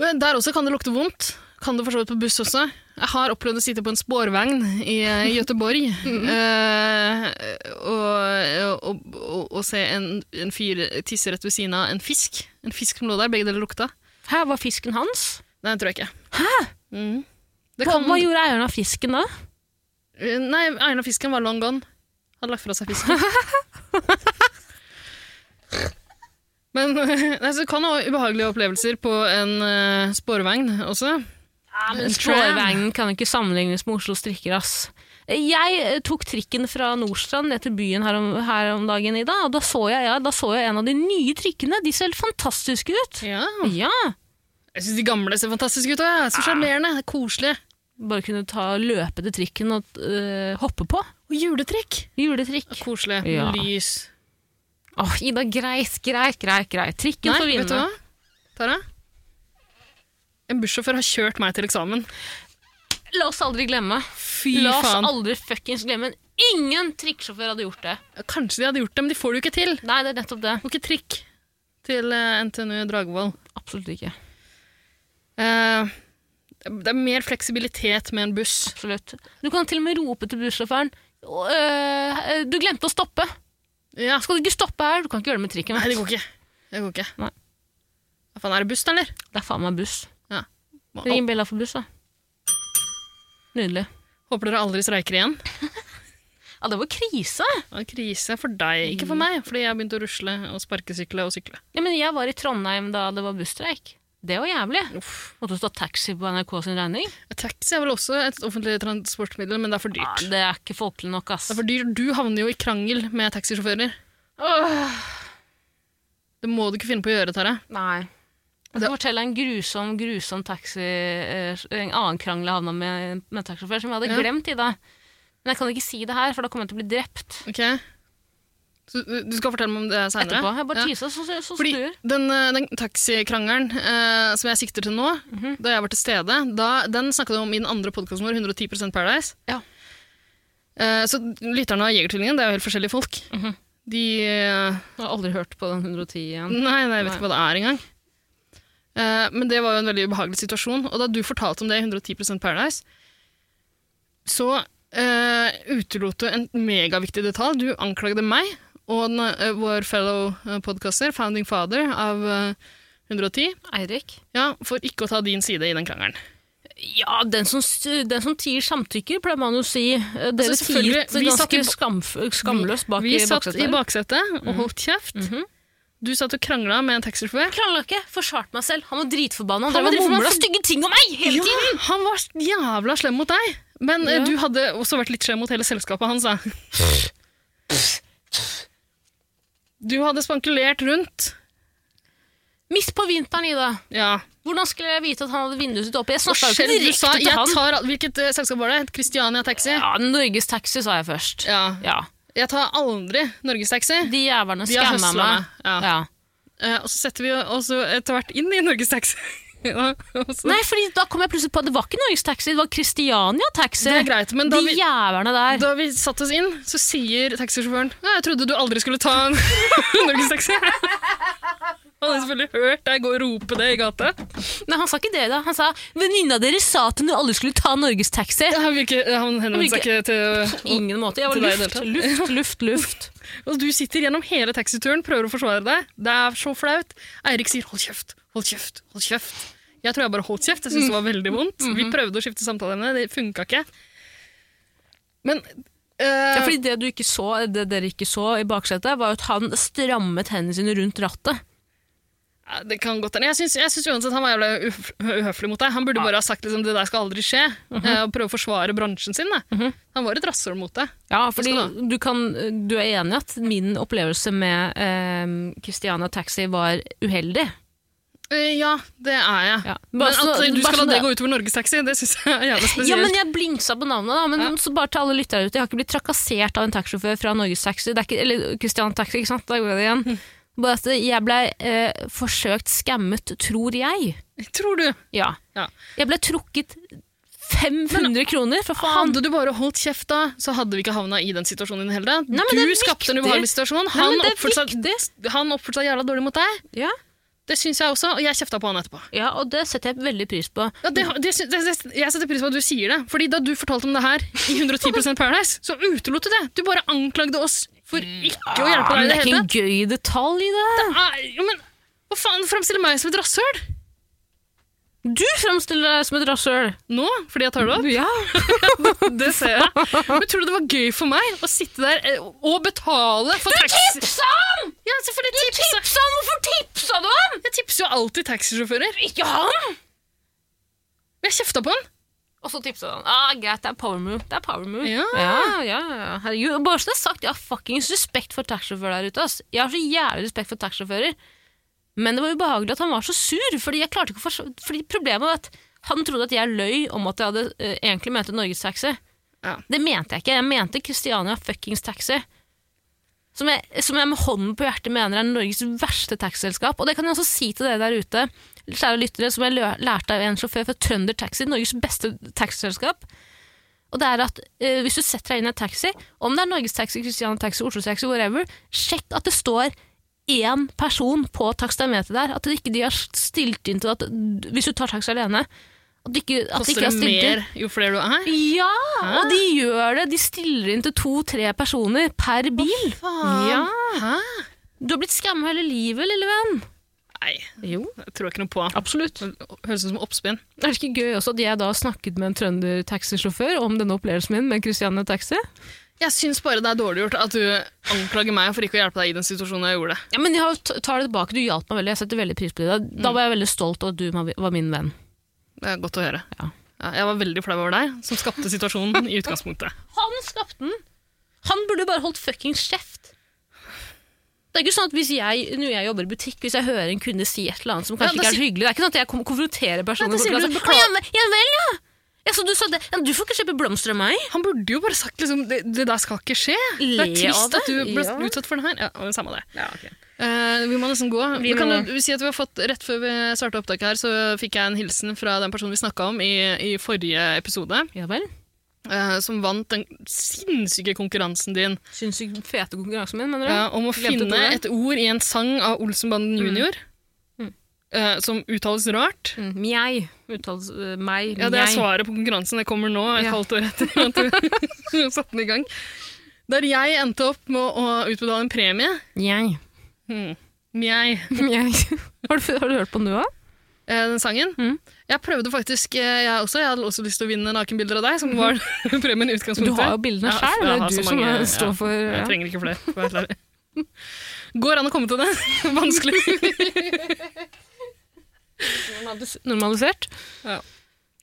[SPEAKER 3] men Der også kan det lukte vondt. Kan det for så vidt på buss også. Jeg har opplevd å sitte på en spårvogn i eh,
[SPEAKER 2] <laughs>
[SPEAKER 3] Gøteborg
[SPEAKER 2] Mhm.
[SPEAKER 3] eh, og, og, og, og se en, en fyr tisse rett ved siden av en fisk. En fisk som lå der, begge deler lukta.
[SPEAKER 2] Her var fisken hans.
[SPEAKER 3] Nei, det tror jeg ikke. Hæ? Mm. Det
[SPEAKER 2] Hva,
[SPEAKER 3] kan,
[SPEAKER 2] hva gjorde eieren av fisken da?
[SPEAKER 3] Eh, Nei, Einar Fisken var long gone. Hadde lagt fra
[SPEAKER 2] <laughs>
[SPEAKER 3] seg fisken. Men <laughs> nei, så kan det ha ubehagelige opplevelser på en uh, sporvogn også.
[SPEAKER 2] Ja, men
[SPEAKER 3] En
[SPEAKER 2] Strålevegnen kan ikke sammenlignes med Oslos trikker, ass. Jeg eh, tok trikken fra Nordstrand ned til byen her om, her om dagen, Ida, og da så, jeg, ja, da så jeg en av de nye trikkene. De ser helt fantastiske ut.
[SPEAKER 3] Ja.
[SPEAKER 2] Ja,
[SPEAKER 3] Jeg syns de gamle ser fantastiske ut. også, Ja. Så sjarmerende. Koselige.
[SPEAKER 2] bare kunne ta løpe til trikken og eh, hoppe på.
[SPEAKER 3] Og juletrekk.
[SPEAKER 2] Juletrikk.
[SPEAKER 3] Koselig.
[SPEAKER 2] Ja.
[SPEAKER 3] Lys.
[SPEAKER 2] Åh, Ida, greit, greit, greit, greit. Trikken får
[SPEAKER 3] vet du
[SPEAKER 2] vinne.
[SPEAKER 3] hva? Tara? En bussjåfør har kjørt meg til eksamen.
[SPEAKER 2] La oss aldri glemme.
[SPEAKER 3] Fy
[SPEAKER 2] La oss
[SPEAKER 3] faen.
[SPEAKER 2] aldri fuckings glemme. Ingen trikksjåfør hadde gjort det.
[SPEAKER 3] Kanskje de hadde gjort det, men de får det jo ikke til.
[SPEAKER 2] Nei, det er nettopp det.
[SPEAKER 3] Det går ikke trikk til eh, NTNU Dragvoll.
[SPEAKER 2] Absolutt ikke.
[SPEAKER 3] Eh, det er mer fleksibilitet med en buss.
[SPEAKER 2] Absolutt. Du kan til og med rope til bussjåføren «Å, øh, Du glemte å stoppe!
[SPEAKER 3] Ja.
[SPEAKER 2] Skal du ikke stoppe her? Du kan ikke gjøre det med trikken.
[SPEAKER 3] Nei, det
[SPEAKER 2] Vet.
[SPEAKER 3] går ikke. Det går ikke.
[SPEAKER 2] Nei.
[SPEAKER 3] Hva faen, er det buss, da, eller?
[SPEAKER 2] du. Det er faen meg buss.
[SPEAKER 3] Ja. Må-
[SPEAKER 2] Ring Bella for buss, da. Nydelig.
[SPEAKER 3] Håper dere aldri streiker igjen.
[SPEAKER 2] Ja, det var krise!
[SPEAKER 3] Det er krise for deg, ikke for
[SPEAKER 2] Mhm.
[SPEAKER 3] meg, fordi jeg begynte å rusle og sparkesykle og sykle.
[SPEAKER 2] Ja, men jeg var i Trondheim da det var busstreik. Det var jævlig.
[SPEAKER 3] Uff.
[SPEAKER 2] Måtte stå taxi på NRK sin regning.
[SPEAKER 3] Taxi er vel også et offentlig transportmiddel, men det er for
[SPEAKER 2] Ja,
[SPEAKER 3] dyrt.
[SPEAKER 2] det er ikke folkelig nok, ass.
[SPEAKER 3] Det er for dyrt. Du havner jo i krangel med taxisjåfører.
[SPEAKER 2] Åh,
[SPEAKER 3] Det må du ikke finne på å gjøre, Tara.
[SPEAKER 2] nei. Jeg skal fortelle en grusom grusom taxi, eh, en annen krangel jeg havna med med en taxisjåfør, som jeg hadde
[SPEAKER 3] Ja.
[SPEAKER 2] glemt i dag. Men jeg kan ikke si det her, for da kommer jeg til å bli drept.
[SPEAKER 3] Ok? Så du du skal fortelle meg om det seinere?
[SPEAKER 2] etterpå. Jeg bare tisa, så, så, så
[SPEAKER 3] Fordi
[SPEAKER 2] snur.
[SPEAKER 3] den, eh, den taxikrangelen eh, som jeg sikter til nå,
[SPEAKER 2] Mhm.
[SPEAKER 3] da jeg var til stede, da, den snakka du om i den andre podkasten vår, 110 Paradise.
[SPEAKER 2] Ja.
[SPEAKER 3] Eh, så lytterne av Jegertvillingen, det er jo helt forskjellige folk.
[SPEAKER 2] Mhm.
[SPEAKER 3] De eh,
[SPEAKER 2] Jeg har aldri hørt på den 110 igjen.
[SPEAKER 3] Nei, nei jeg vet ikke hva det er engang. Eh, men det var jo en veldig ubehagelig situasjon. Og da du fortalte om det i 110 Paradise, så eh, utelot du en megaviktig detalj. Du anklagde meg og den, eh, vår fellow eh, podcaster, Founding Father av eh, 110,
[SPEAKER 2] Eirik?
[SPEAKER 3] ja, for ikke å ta din side i den krangelen.
[SPEAKER 2] Ja, den som, s- den som tier samtykker, pleier man jo å si. Eh, Dere
[SPEAKER 3] Altså, selvfølgelig,
[SPEAKER 2] tiet
[SPEAKER 3] vi satt i
[SPEAKER 2] ganske
[SPEAKER 3] ba-
[SPEAKER 2] skamf skamløst bak
[SPEAKER 3] vi
[SPEAKER 2] i
[SPEAKER 3] satt i
[SPEAKER 2] baksetet. Mhm.
[SPEAKER 3] baksetet og holdt kjeft. Du satt og krangla med en taxisjåfør.
[SPEAKER 2] Krangla ikke, forsvarte meg selv. Han var dritforbanna. Han
[SPEAKER 3] Han var
[SPEAKER 2] drev og
[SPEAKER 3] dritforbanna.
[SPEAKER 2] mumla stygge ting om meg hele
[SPEAKER 3] Ja,
[SPEAKER 2] tiden!
[SPEAKER 3] han var jævla slem mot deg. Men eh,
[SPEAKER 2] Ja.
[SPEAKER 3] du hadde også vært litt slem mot hele selskapet hans, da. Du hadde spankulert rundt.
[SPEAKER 2] Midt på vinteren, Ida.
[SPEAKER 3] Ja.
[SPEAKER 2] Hvordan skulle jeg vite at han hadde vinduet sitt oppe? Jeg
[SPEAKER 3] Og
[SPEAKER 2] snakka jo
[SPEAKER 3] selv
[SPEAKER 2] ikke
[SPEAKER 3] du sa,
[SPEAKER 2] direkte til
[SPEAKER 3] jeg
[SPEAKER 2] han.
[SPEAKER 3] tar, al- hvilket eh, selskap var det? Christiania Taxi?
[SPEAKER 2] Ja, Norges Taxi sa jeg først.
[SPEAKER 3] Ja.
[SPEAKER 2] Ja.
[SPEAKER 3] Jeg tar aldri Norgestaxi.
[SPEAKER 2] De jævlene
[SPEAKER 3] De har
[SPEAKER 2] skamma
[SPEAKER 3] høsla
[SPEAKER 2] meg.
[SPEAKER 3] meg. Ja.
[SPEAKER 2] Ja.
[SPEAKER 3] Eh, og så setter vi jo også etter hvert inn i Norgestaxi. ja, <laughs> og så-
[SPEAKER 2] Nei, fordi da kom jeg plutselig på at det var ikke Norges Taxi, det var Christiania Taxi.
[SPEAKER 3] det er greit, men da
[SPEAKER 2] de
[SPEAKER 3] vi,
[SPEAKER 2] jævlene der.
[SPEAKER 3] da vi satt oss inn, så sier taxisjåføren «Ja, Jeg trodde du aldri skulle ta en <laughs> norgestaxi. Han hadde selvfølgelig hørt deg gå og rope det i gata.
[SPEAKER 2] Nei, han sa ikke det da. Han sa venninna deres sa at hun aldri skulle ta Norges taxi.
[SPEAKER 3] Han, virker, han henvendte seg ikke til
[SPEAKER 2] Ingen måte. Jeg var
[SPEAKER 3] Til deg i
[SPEAKER 2] luft,
[SPEAKER 3] det
[SPEAKER 2] luft, luft, luft.
[SPEAKER 3] Og du sitter gjennom hele taxituren, prøver å forsvare deg. Det er så flaut. Eirik sier 'hold kjeft, hold kjeft, hold kjeft'. Jeg tror jeg bare holdt kjeft. Jeg syntes det var veldig vondt. Vi prøvde å skifte samtaleemne, det funka ikke. Men eh,
[SPEAKER 2] Ja, fordi det, du ikke så, det dere ikke så i baksetet, var jo at han strammet hendene sine rundt rattet.
[SPEAKER 3] Ja, Det kan godt hende. Jeg syns, jeg syns uansett han var jævlig uf- uhøflig mot deg. Han burde bare ha sagt liksom, det der skal aldri skje,
[SPEAKER 2] Mhm.
[SPEAKER 3] eh, og prøve å forsvare bransjen sin. Da. Han var et rasshøl mot deg.
[SPEAKER 2] Ja, fordi
[SPEAKER 3] Hva
[SPEAKER 2] du, kan, du er enig i at min opplevelse med eh, Christiania Taxi var uheldig.
[SPEAKER 3] Eh, ja, det er jeg.
[SPEAKER 2] Ja.
[SPEAKER 3] Men
[SPEAKER 2] Bare
[SPEAKER 3] at
[SPEAKER 2] så-
[SPEAKER 3] eh, du
[SPEAKER 2] bare
[SPEAKER 3] skal
[SPEAKER 2] så
[SPEAKER 3] la det
[SPEAKER 2] det-
[SPEAKER 3] gå utover Norges Taxi, det syns jeg er jævlig spesielt.
[SPEAKER 2] Ja, men jeg blingsa på navnet, da. Men
[SPEAKER 3] Ja.
[SPEAKER 2] så bare til alle lyttere ute, jeg har ikke blitt trakassert av en taxisjåfør fra Norges Taxi, det er ikke, eller Christian Taxi, ikke sant? Da gjorde jeg det igjen. Bare at jeg ble eh, forsøkt skammet, tror jeg.
[SPEAKER 3] Tror du?
[SPEAKER 2] Ja.
[SPEAKER 3] Ja.
[SPEAKER 2] Jeg ble trukket 500 kroner, for faen.
[SPEAKER 3] Hadde du bare holdt kjeft da, så hadde vi ikke havna i den situasjonen i det hele tatt.
[SPEAKER 2] Nei, men det er
[SPEAKER 3] Du skapte en
[SPEAKER 2] viktig.
[SPEAKER 3] ubehagelig situasjon.
[SPEAKER 2] Nei,
[SPEAKER 3] Han
[SPEAKER 2] men det er
[SPEAKER 3] oppførte seg-
[SPEAKER 2] viktig.
[SPEAKER 3] han oppførte seg jævla dårlig mot deg.
[SPEAKER 2] Ja.
[SPEAKER 3] Det syns jeg også, og jeg kjefta på han etterpå.
[SPEAKER 2] ja, og det setter jeg veldig pris på.
[SPEAKER 3] Ja, det, det, sy- det, det, jeg setter pris på at du sier det. Fordi Da du fortalte om det her i 110 Paradise, så utelot du det. Du bare anklagde oss for ikke å
[SPEAKER 2] Mm.
[SPEAKER 3] hjelpe
[SPEAKER 2] Ah, men
[SPEAKER 3] deg.
[SPEAKER 2] det er
[SPEAKER 3] i Det hele
[SPEAKER 2] ikke
[SPEAKER 3] tatt.
[SPEAKER 2] en gøy detalj i det.
[SPEAKER 3] Ah, jo, men hva faen, framstille meg som et rasshøl?
[SPEAKER 2] Du fremstiller deg som et rasshøl!
[SPEAKER 3] Nå, fordi jeg tar det opp.
[SPEAKER 2] Ja.
[SPEAKER 3] <laughs> Det ser jeg. Men tror du det var gøy for meg å sitte der eh, og betale for taxi?
[SPEAKER 2] Tipsa han!
[SPEAKER 3] Ja, selvfølgelig tipsa!
[SPEAKER 2] Tipsa han! Hvorfor tipsa du han?
[SPEAKER 3] Jeg tipser jo alltid taxisjåfører.
[SPEAKER 2] Ikke han!
[SPEAKER 3] Jeg kjefta på han.
[SPEAKER 2] Og så tipsa han. Ah, greit, det er power move. Det er power move.
[SPEAKER 3] Ja.
[SPEAKER 2] ja, ja, ja. Herregud, og bare så det er sagt, jeg har fuckings respekt for taxisjåfører der ute. Ass. Jeg har så jævlig respekt for taxisjåfører. Men det var ubehagelig at han var så sur, fordi, jeg klarte ikke å fors- fordi problemet var at han trodde at jeg løy om at jeg hadde eh, egentlig mente Norgestaxi.
[SPEAKER 3] Ja.
[SPEAKER 2] Det mente jeg ikke. Jeg mente Christiania fuckings Taxi. Som jeg, som jeg med hånden på hjertet mener er Norges verste taxiselskap. Og det kan jeg også si til dere der ute, kjære lyttere, som jeg lø- lærte av en sjåfør fra Trønder Taxi, Norges beste taxiselskap. Og det er at eh, hvis du setter deg inn i en taxi, om det er Norges Taxi, Christiania Taxi, Oslo Taxi, whatever, sjekk at det står én person på takstameteret der. At ikke de har stilt inn til at hvis du tar taxi alene At de ikke, at de
[SPEAKER 3] Koster
[SPEAKER 2] ikke
[SPEAKER 3] det
[SPEAKER 2] har stilt inn
[SPEAKER 3] mer jo flere du er?
[SPEAKER 2] ja, og de gjør det. De stiller inn til to-tre personer per bil. Ja.
[SPEAKER 3] Hæ?
[SPEAKER 2] Du har blitt skamma hele livet, lille venn.
[SPEAKER 3] Nei,
[SPEAKER 2] Jo,
[SPEAKER 3] jeg tror ikke noe på.
[SPEAKER 2] absolutt.
[SPEAKER 3] Høres ut som oppspinn.
[SPEAKER 2] Er det ikke gøy også at jeg da har snakket med en trønder-taxisjåfør om denne opplevelsen min med Christiane Taxi?
[SPEAKER 3] Jeg syns bare det er dårlig gjort at du anklager meg for ikke å hjelpe deg i den situasjonen jeg gjorde.
[SPEAKER 2] Ja, men jeg har- tar det tilbake. Du hjalp meg veldig. Jeg setter veldig pris på det. Da, da var jeg veldig stolt over at du var min venn.
[SPEAKER 3] Det er godt å høre.
[SPEAKER 2] Ja.
[SPEAKER 3] Ja, jeg var veldig flau over deg, som skapte situasjonen
[SPEAKER 2] <laughs>
[SPEAKER 3] i utgangspunktet.
[SPEAKER 2] Han skapte den. Han burde bare holdt fuckings kjeft. Det er ikke sånn at hvis jeg, Når jeg jobber i butikk, hvis jeg hører en kunde si et eller annet som kanskje
[SPEAKER 3] Ja, da
[SPEAKER 2] ikke er
[SPEAKER 3] sier-
[SPEAKER 2] så hyggelig Det er ikke sånn at jeg kom- konfronterer personen. altså,
[SPEAKER 3] Nei,
[SPEAKER 2] og
[SPEAKER 3] da sier du
[SPEAKER 2] sier, «Å, ja,
[SPEAKER 3] beklager.
[SPEAKER 2] men- ja vel, ja. ja! Så du sa det. Ja, du får ikke kjøpe blomster av meg.
[SPEAKER 3] Han burde jo bare sagt liksom, det, det der skal ikke skje. Det er
[SPEAKER 2] Le av
[SPEAKER 3] trist
[SPEAKER 2] det.
[SPEAKER 3] at du ble
[SPEAKER 2] Ja.
[SPEAKER 3] utsatt for den her. Ja, men samme det. Eh, vi må nesten gå.
[SPEAKER 2] Vi
[SPEAKER 3] kan
[SPEAKER 2] må-
[SPEAKER 3] du, si at vi har fått, Rett før vi starta opptaket, her, så fikk jeg en hilsen fra den personen vi snakka om i, i forrige episode,
[SPEAKER 2] Ja vel.
[SPEAKER 3] eh, som vant den sinnssyke konkurransen din
[SPEAKER 2] Sinnssykt fete konkurransen min, mener du?
[SPEAKER 3] eh, om å
[SPEAKER 2] Glemte
[SPEAKER 3] finne
[SPEAKER 2] ordet.
[SPEAKER 3] et ord i en sang av Olsenbanden junior,
[SPEAKER 2] Mm.
[SPEAKER 3] eh, som uttales rart.
[SPEAKER 2] Mm, Mjau. Uttales eh, meg.
[SPEAKER 3] Ja, det er
[SPEAKER 2] mjau.
[SPEAKER 3] svaret på konkurransen. Det kommer nå, et
[SPEAKER 2] Ja.
[SPEAKER 3] halvt år etter at du <laughs> satte den i gang. Der jeg endte opp med å utbetale en premie.
[SPEAKER 2] Mjau.
[SPEAKER 3] Hmm. Jeg,
[SPEAKER 2] <laughs> Mjau. Har du, har du hørt på den, du òg?
[SPEAKER 3] eh, den sangen.
[SPEAKER 2] Mm.
[SPEAKER 3] Jeg prøvde faktisk, eh, jeg også. Jeg hadde også lyst til å vinne nakenbilder av deg, som var <laughs> premien
[SPEAKER 2] Mm. Du
[SPEAKER 3] i utgangspunktet.
[SPEAKER 2] har jo bildene
[SPEAKER 3] Ja,
[SPEAKER 2] selv,
[SPEAKER 3] jeg
[SPEAKER 2] Det
[SPEAKER 3] har
[SPEAKER 2] er du
[SPEAKER 3] så
[SPEAKER 2] som
[SPEAKER 3] mange-
[SPEAKER 2] eh, står
[SPEAKER 3] ja,
[SPEAKER 2] for ja.
[SPEAKER 3] Jeg trenger ikke flere. for å være helt ærlig. Går an å komme til det. <laughs>
[SPEAKER 2] <laughs>
[SPEAKER 3] Vanskelig.
[SPEAKER 2] Normalis- normalisert.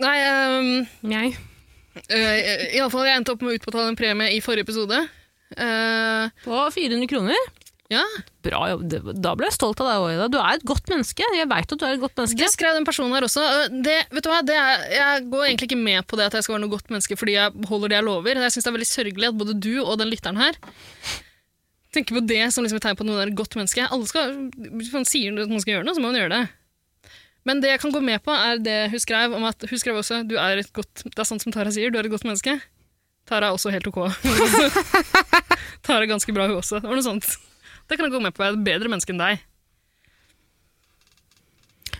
[SPEAKER 3] Nei, ehm,
[SPEAKER 2] Mjau.
[SPEAKER 3] eh, i alle fall, jeg endte opp med å utbetale en premie i forrige episode. Eh,
[SPEAKER 2] På 400 kroner.
[SPEAKER 3] ja,
[SPEAKER 2] Bra jobb. Det- Da ble jeg stolt av deg òg, Ida. Du er et godt menneske. Jeg veit at du er et godt
[SPEAKER 3] Det
[SPEAKER 2] menneske.
[SPEAKER 3] skrev den personen her også. Øh, Det, vet du hva, det er, jeg går egentlig ikke med på det at jeg skal være noe godt menneske fordi jeg holder det jeg lover. Jeg synes det er veldig sørgelig at både du og den lytteren her tenker på det som liksom et tegn på at noen er et godt menneske. Alle skal, hvis man sier at man skal gjøre noe, så må man gjøre det. Men det jeg kan gå med på, er det hun skrev om at hun skrev også du er et godt, Det er sånn som Tara sier, du er et godt menneske. Tara er også helt ok. <laughs> Tara er ganske bra, hun også. Det var noe sånt. Det kan jeg gå med på. Jeg er et bedre menneske enn deg.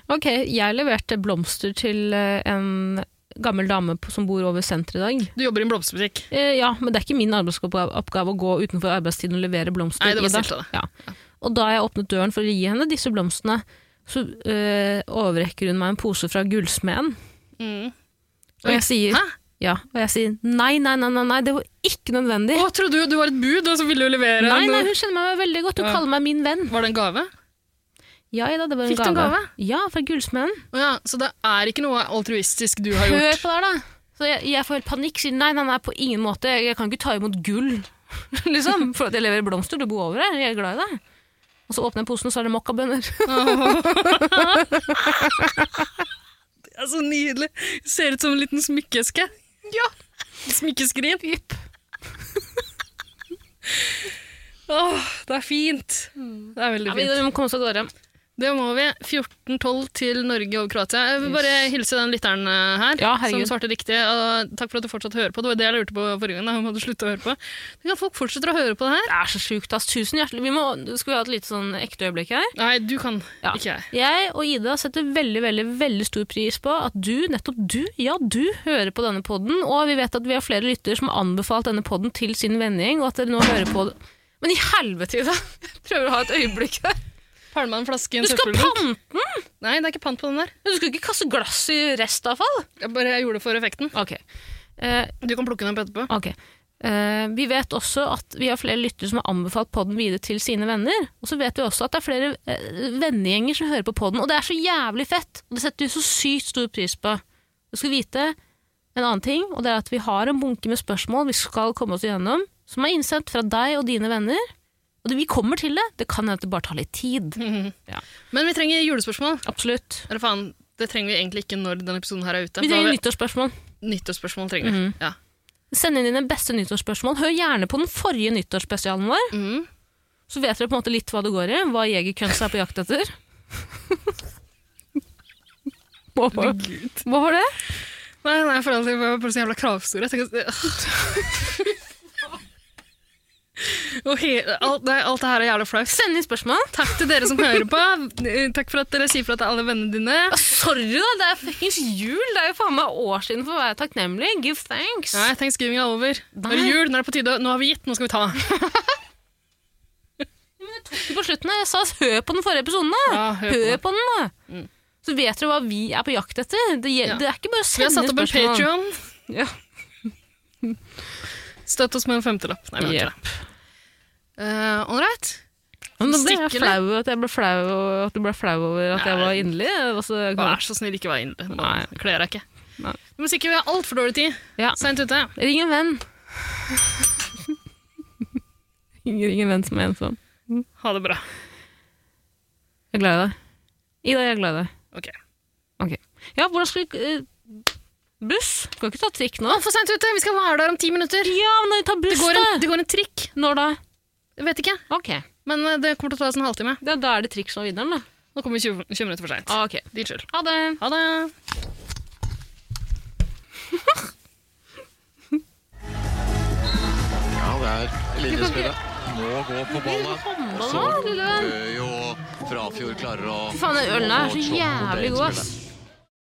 [SPEAKER 2] Ok, jeg leverte blomster til eh, en gammel dame på, som bor over senteret i dag.
[SPEAKER 3] Du jobber i en blomsterbutikk.
[SPEAKER 2] Eh, ja, men det er ikke min arbeidsoppgave oppgave å gå utenfor arbeidstiden og levere blomster.
[SPEAKER 3] Nei, det var
[SPEAKER 2] Ida.
[SPEAKER 3] Silta, det.
[SPEAKER 2] Ja. Og da jeg åpnet døren for å gi henne disse blomstene, så eh, overrekker hun meg en pose fra gullsmeden.
[SPEAKER 3] Mm.
[SPEAKER 2] Og jeg sier,
[SPEAKER 3] Hæ?
[SPEAKER 2] ja, og jeg sier nei, nei, nei, nei, nei, det var ikke nødvendig.
[SPEAKER 3] Å, trodde jo du var et bud, og så ville du levere
[SPEAKER 2] Nei, nei,
[SPEAKER 3] noe.
[SPEAKER 2] hun kjenner meg veldig godt. Hun
[SPEAKER 3] Ja.
[SPEAKER 2] kaller meg min venn.
[SPEAKER 3] Var det en gave?
[SPEAKER 2] Ja, Ida, det var en
[SPEAKER 3] Fikk du en
[SPEAKER 2] gave.
[SPEAKER 3] gave?
[SPEAKER 2] Ja, fra gullsmeden.
[SPEAKER 3] Å ja, så det er ikke noe altruistisk du har
[SPEAKER 2] Hør
[SPEAKER 3] gjort.
[SPEAKER 2] på det her, da. Så jeg, jeg får helt panikk. Sier nei, nei, nei, på ingen måte. Jeg, jeg kan ikke ta imot gull. <laughs> liksom, For at jeg leverer blomster. Du bor over her. Jeg er glad i deg. Og så åpner jeg posen, og så er <laughs> det mokkabønner.
[SPEAKER 3] Det er så nydelig. Ser ut som en liten smykkeeske. Ja. Smykkeskrin. <laughs> Åh, det er fint. Det er veldig
[SPEAKER 2] Ja, vi,
[SPEAKER 3] fint.
[SPEAKER 2] vi må komme oss av gårde.
[SPEAKER 3] Det må vi. 14-12 til Norge og Kroatia. Jeg vil bare hilse den lytteren eh, her,
[SPEAKER 2] Ja,
[SPEAKER 3] som
[SPEAKER 2] herregud.
[SPEAKER 3] svarte riktig. Og takk for at du fortsatt hører på. Det var det jeg lurte på forrige gang. da, om du hadde sluttet å høre på. Tenk at folk fortsetter å høre på det her.
[SPEAKER 2] Det er så sjukt, ass. Tusen hjertelig. Vi må, skal vi ha et lite sånn ekte øyeblikk her?
[SPEAKER 3] Nei, du kan.
[SPEAKER 2] Ja.
[SPEAKER 3] Ikke jeg.
[SPEAKER 2] Jeg og Ida setter veldig veldig, veldig stor pris på at du, nettopp du, ja du, hører på denne podden. Og vi vet at vi har flere lyttere som har anbefalt denne podden til sin vennegjeng, og at dere nå hører på det. Men i helvete, Ida! Jeg prøver å ha et øyeblikk her.
[SPEAKER 3] Pælma en flaske i en
[SPEAKER 2] Du skal
[SPEAKER 3] søppeldunk.
[SPEAKER 2] panne!
[SPEAKER 3] Nei, det er ikke pant på den der.
[SPEAKER 2] Du skal ikke kaste glass i restavfall?
[SPEAKER 3] Jeg bare jeg gjorde det for effekten.
[SPEAKER 2] Ok. Eh,
[SPEAKER 3] Du kan plukke den opp etterpå.
[SPEAKER 2] ok. Eh, vi vet også at vi har flere lyttere som har anbefalt podden videre til sine venner. Og så vet vi også at det er flere eh, vennegjenger som hører på podden. Og det er så jævlig fett! Og det setter vi så sykt stor pris på. Du skal vite en annen ting, og det er at vi har en bunke med spørsmål vi skal komme oss igjennom, som er innsendt fra deg og dine venner. Og det, vi kommer til det. Det kan hende at det bare tar litt tid.
[SPEAKER 3] Men vi trenger julespørsmål.
[SPEAKER 2] Absolutt.
[SPEAKER 3] Eller faen, det trenger vi egentlig ikke når denne episoden her er ute.
[SPEAKER 2] Vi
[SPEAKER 3] Da har
[SPEAKER 2] trenger Mhm. nyttårsspørsmål.
[SPEAKER 3] Nyttårsspørsmål trenger vi. Ja.
[SPEAKER 2] Send inn dine beste nyttårsspørsmål. Hør gjerne på den forrige nyttårsspesialen vår.
[SPEAKER 3] Mhm.
[SPEAKER 2] Så vet dere på en måte litt hva det går i. Hva jegerkunst er på jakt
[SPEAKER 3] <laughs>
[SPEAKER 2] etter. hva, var, hva var det?
[SPEAKER 3] Nei, nei, for alltid var bare så jævla kravstore. Jeg tenker, <laughs> Og he, alt, nei, alt det her er jævla flaut.
[SPEAKER 2] Send inn spørsmål.
[SPEAKER 3] Takk til dere som hører på. Eh, Takk for at dere sier fra til alle vennene dine.
[SPEAKER 2] Ah, Sorry, da! Det er fuckings jul! Det er jo faen meg år siden for å være takknemlig. Give thanks.
[SPEAKER 3] Nei, thanksgiving er over. Nå er det
[SPEAKER 2] Nei.
[SPEAKER 3] jul, nå er det på tide. Nå har vi gitt, nå skal vi ta.
[SPEAKER 2] Ikke på slutten, da. Jeg sa hør på den forrige episoden, da!
[SPEAKER 3] Ja, hør på
[SPEAKER 2] hør
[SPEAKER 3] den. Mm.
[SPEAKER 2] på den, da! Så vet dere hva vi er på jakt etter. Det, gjel-
[SPEAKER 3] Ja.
[SPEAKER 2] det er ikke bare å
[SPEAKER 3] Vi har
[SPEAKER 2] sende
[SPEAKER 3] satt
[SPEAKER 2] inn
[SPEAKER 3] opp en
[SPEAKER 2] spørsmål.
[SPEAKER 3] Patreon.
[SPEAKER 2] Ja.
[SPEAKER 3] Støtt oss med en femtelapp. Nei, vi har ikke det. Eh, All right.
[SPEAKER 2] Men nå ble jeg
[SPEAKER 3] Stikkene.
[SPEAKER 2] flau at jeg ble flau, og- at du ble flau over at jeg var inderlig. Det var så galt.
[SPEAKER 3] Vær så snill, ikke vær inne. Nå
[SPEAKER 2] Nei.
[SPEAKER 3] Kler deg ikke.
[SPEAKER 2] Nei.
[SPEAKER 3] Du må sikkert vi har altfor dårlig tid.
[SPEAKER 2] Ja.
[SPEAKER 3] Seint ute.
[SPEAKER 2] Ring en venn. <laughs> Ring en venn som er ensom.
[SPEAKER 3] Ha det bra.
[SPEAKER 2] Jeg er glad i deg. Ida, jeg er glad i deg.
[SPEAKER 3] Ok.
[SPEAKER 2] Ok. Ja, hvordan skal vi eh, Buss? Skal ikke ta trikk nå?
[SPEAKER 3] Altfor seint ute. Vi skal være der om ti minutter.
[SPEAKER 2] Ja, men ta
[SPEAKER 3] Det
[SPEAKER 2] buss,
[SPEAKER 3] går, en,
[SPEAKER 2] da!
[SPEAKER 3] det går en trikk.
[SPEAKER 2] Når da?
[SPEAKER 3] Jeg vet ikke.
[SPEAKER 2] Ok.
[SPEAKER 3] Men eh, det kommer til å ta oss en halvtime.
[SPEAKER 2] Ja, da er det trikk som er vinneren, da.
[SPEAKER 3] Nå kommer vi 20, 20 minutter for seint.
[SPEAKER 2] Ah, ok.
[SPEAKER 3] Dit skyld.
[SPEAKER 2] Ha det.
[SPEAKER 3] Ha det.
[SPEAKER 5] Ja, det er linjespillet. Må gå på ballen.
[SPEAKER 2] Håndball,
[SPEAKER 5] Og
[SPEAKER 2] da,
[SPEAKER 5] så
[SPEAKER 2] lille venn.
[SPEAKER 5] bør jo Frafjord klarer å
[SPEAKER 2] Fy faen, den ølen er så jævlig god, ass.